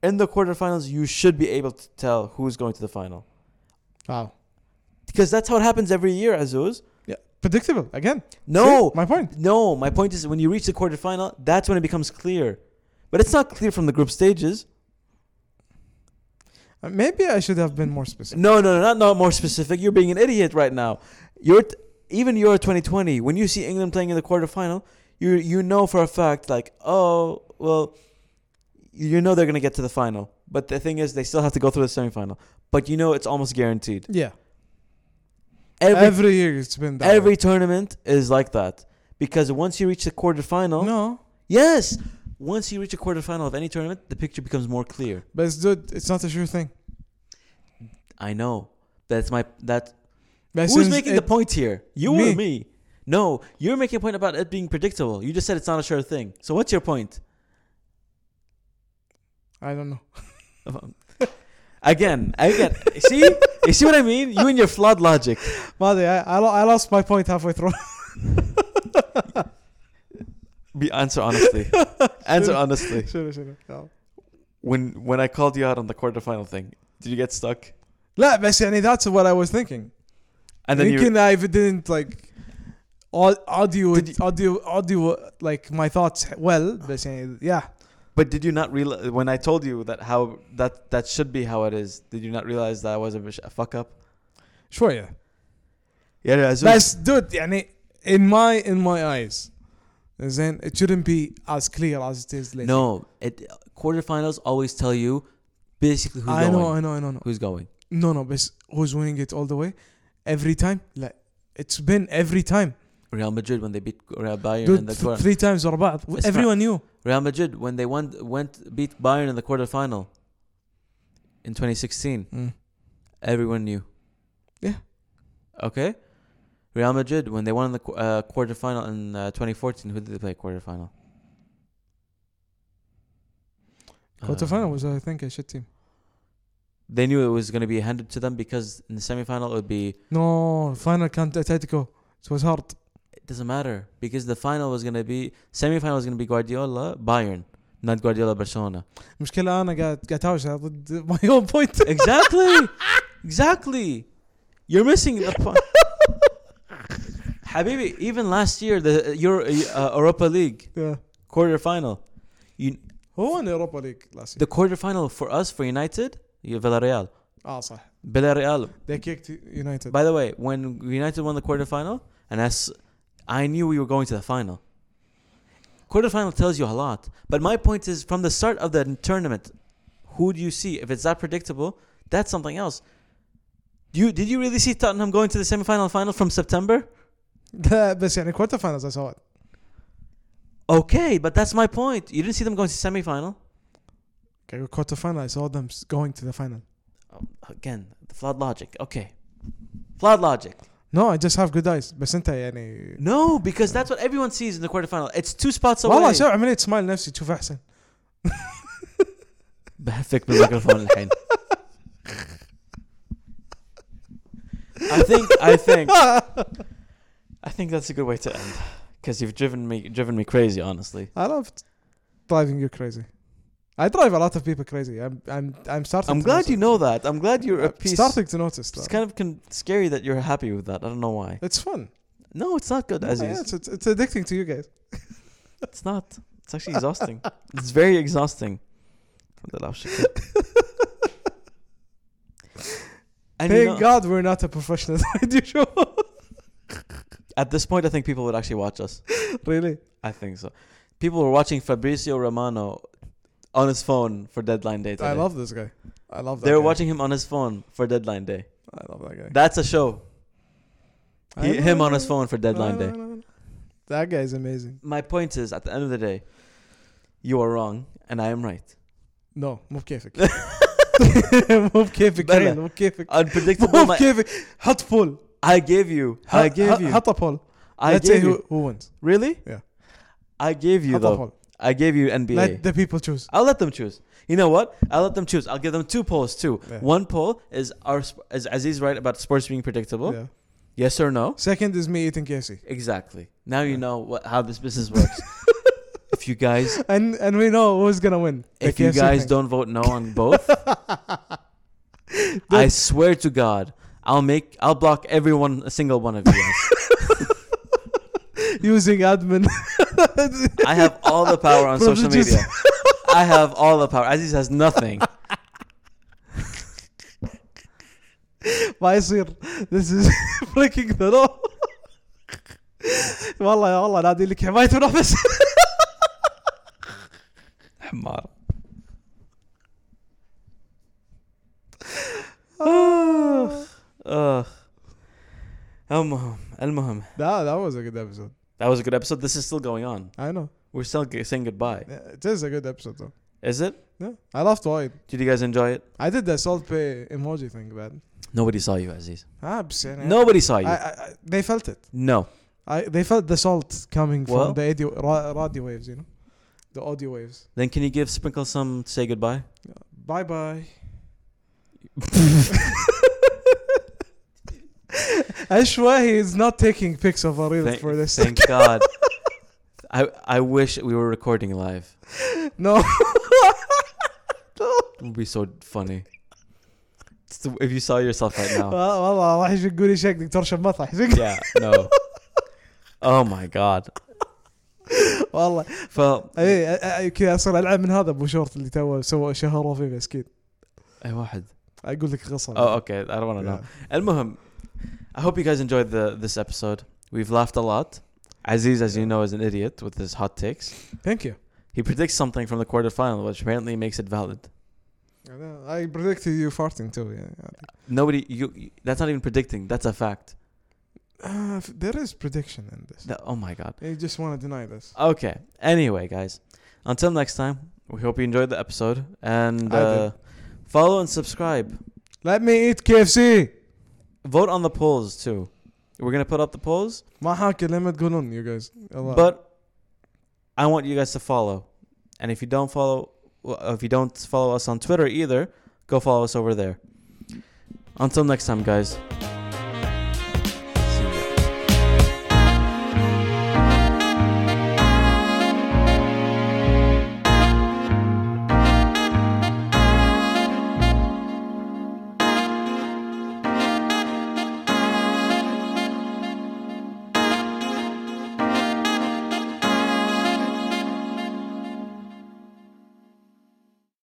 In the quarterfinals, you should be able to tell who's going to the final Wow. because that's how it happens every year, Azuz. predictable again. No, See, my point. no. My point is when you reach the quarterfinal, that's when it becomes clear. But it's not clear from the group stages. Uh, Maybe I should have been more specific. No, no, no, not, not more specific. You're being an idiot right now. You're t- even Euro 2020. When you see England playing in the quarterfinal, you you know for a fact like, oh well, you know they're gonna get to the final. But the thing is, they still have to go through the semifinal. But you know it's almost guaranteed. Yeah, every, Every year it's been that. every way. tournament is like that because once you reach the quarterfinal, no, yes, once you reach a quarterfinal of any tournament, the picture becomes more clear. but it's good. It's not a sure thing. I know that's my that But Who's since making the it- point here? You Me. or me? No, you're making a point about it being predictable. You just said it's not a sure thing. So what's your point? [LAUGHS] I don't know. Again, again. see, you see what I mean? You and your flawed logic. [LAUGHS] Madi, I, I, lo- I lost my point [LAUGHS] halfway through. Be answer [LAUGHS] honestly. answer honestly. sure, sure. No. When when I called you out on the quarterfinal thing, did you get stuck? لا بس يعني that's what I was thinking. And then you Thinking I didn't like au- audio Did it- audio audio like my thoughts well. But يعني, yeah, but did you not realize when I told you that how that that should be how it is? Did you not realize that I was a, bish- a fuck up? شوية. Yeah, yeah. so- That's dude, يعني in my in my eyes, then it shouldn't be as clear as it is later. No, it quarterfinals always tell you basically who's I going. know, I know, I know, I know. Who's going? No, no, but who's winning it all the way? Every time? Like, it's been every time. Real Madrid when they beat Real Bayern in Dude, the th- quarter. three times or بعض. It's Everyone knew. Real Madrid when they won went beat Bayern in the quarterfinal in 2016. Everyone knew. Yeah. Okay. Real Madrid when they won in the qu- uh, quarterfinal in uh, 2014. Who did they play quarterfinal? Quarterfinal Uh, was, I think, a shit team. They knew it was going to be handed to them because in the semifinal it would be. No, final can't Atletico. It was hard. It doesn't matter because the final was going to be semifinal was going to be Guardiola Bayern, not Guardiola Barcelona. مشكلة أنا قاعد قاعد أتهاوش ضد my own point. Exactly. exactly. You're missing the point. Habibi, even last year, the Euro, uh, Europa League Yeah. quarterfinal, you, Who won Europa League last year? the quarterfinal for us for United, you- Villarreal. Ah, صح. Villarreal. They kicked United. By the way, when United won the quarterfinal, and as I knew we were going to the final. Quarterfinal tells you a lot, but my point is from the start of the tournament, who do you see? If it's that predictable, that's something else. You did you really see Tottenham going to the semifinal final from September? لا [LAUGHS] بس يعني quarter finals I saw it. Okay, but that's my point. You didn't see them going to semifinal. Okay, quarter final I saw them s- going to the final. Oh, Again, the flawed logic. Okay, flawed logic. No, I just have good eyes. بس أنت يعني No, because that's what everyone sees in the quarterfinal. It's two spots away. والله شوف عملية سمايل نفسي تشوف أحسن. بهفك بالميكروفون الحين. I think I think I think that's a good way to end because you've driven me driven me crazy honestly. I love driving you crazy. I drive a lot of people crazy. I'm I'm I'm starting. I'm to glad you notice. know that. I'm glad you're a I'm piece. starting to notice. It's That. kind of con- scary that you're happy with that. I don't know why. It's fun. No, it's not good, Yeah, Aziz. it's, it's, it's addicting to you guys. It's not. It's actually exhausting. it's very exhausting. Alhamdulillah, shukran. And you Thank know, God we're not a professional [LAUGHS] radio show. at this point, I think people would actually watch us. really? I think so. People were watching Fabrizio Romano on his phone for deadline day. Today. I love this guy. I love that. They were guy. watching him on his phone for deadline day. I love that guy. That's a show. I He, know, him I on his know. phone for deadline No, day. no, no, no. That guy's amazing. My point is, at the end of the day, you are wrong and I am [LAUGHS] right. No, [LAUGHS] مو بكيفك. مو بكيفك بلى. كريم، مو بكيفك. Unpredictable. مو my, بكيفك. حط بول. I gave you. I gave you. حط بول. I Let's say gave who you. who wins. Really? Yeah. I gave you حط though. بول. I gave you Let NBA. the people choose. I'll let them choose. You know what? I'll let them choose. I'll give them two polls too. Yeah. One poll is our sp- is Aziz right about sports being predictable? Yeah. Yes or no? Second is me eating KFC. Exactly. Now you know what how this business works. if you guys And and we know who's gonna win. The if you KFC guys thing. don't vote no on both, I swear to God, I'll make I'll block everyone a single one of you. guys. using admin. [LAUGHS] I have all the power on social Privileges. media. I have all the power. Aziz has nothing. ما يصير. This is [LAUGHS] breaking the law. [LAUGHS] والله يا والله نادي لك حماية روح [SIGHS] بس. حمار. Ugh. المهم المهم [SIGHS] That that was a good episode. That was a good episode. This is still going on. I know. We're still g- saying goodbye. It is a good episode though. Is it? Yeah. I laughed wide. Did you guys enjoy it? I did the salt pay emoji thing bad. Nobody saw you, Aziz. Ah, بس يعني Nobody saw I, you. I, I, they felt it. no. I they felt the salt coming Well- from the audio, ra, radio waves, you know, the audio waves. Then can you give Sprinkle some to say goodbye? Bye [LAUGHS] bye. Ashwahi is not taking pics of Aril Thank- for this. Thank God. [LAUGHS] I I wish we were recording live. [LAUGHS] [LAUGHS] No. It would be so funny. It's the- if you saw yourself right [LAUGHS] now. والله راح يشقوا لي شكلك ترشم مسرح [LAUGHS] yeah. No. Oh my God. والله Well. اي أي- كذا اصير العب من هذا ابو شورت اللي تو سوى شهره فيه مسكين أي واحد. اقول لك قصه Oh, okay. I don't want to know. المهم, I hope you guys enjoyed the this episode. We've laughed a lot. Aziz, as you know, is an idiot with his hot takes. ثانك يو He predicts something from the quarterfinal, which apparently makes it valid. I predicted you farting too. Yeah. Nobody, you, you- that's not even predicting. That's a fact. Uh, f- there is prediction in this. That- oh my god. You just want to deny this. Okay. Anyway, guys, until next time, we hope you enjoyed the episode and I uh, follow and subscribe. Let me eat KFC. Vote on the polls too. We're gonna put up the polls, ما حاكي لما تقولون you guys. Allah. but I want you guys to follow. And if you don't follow, well, if you don't follow us on Twitter either, go follow us over there. Until next time, guys.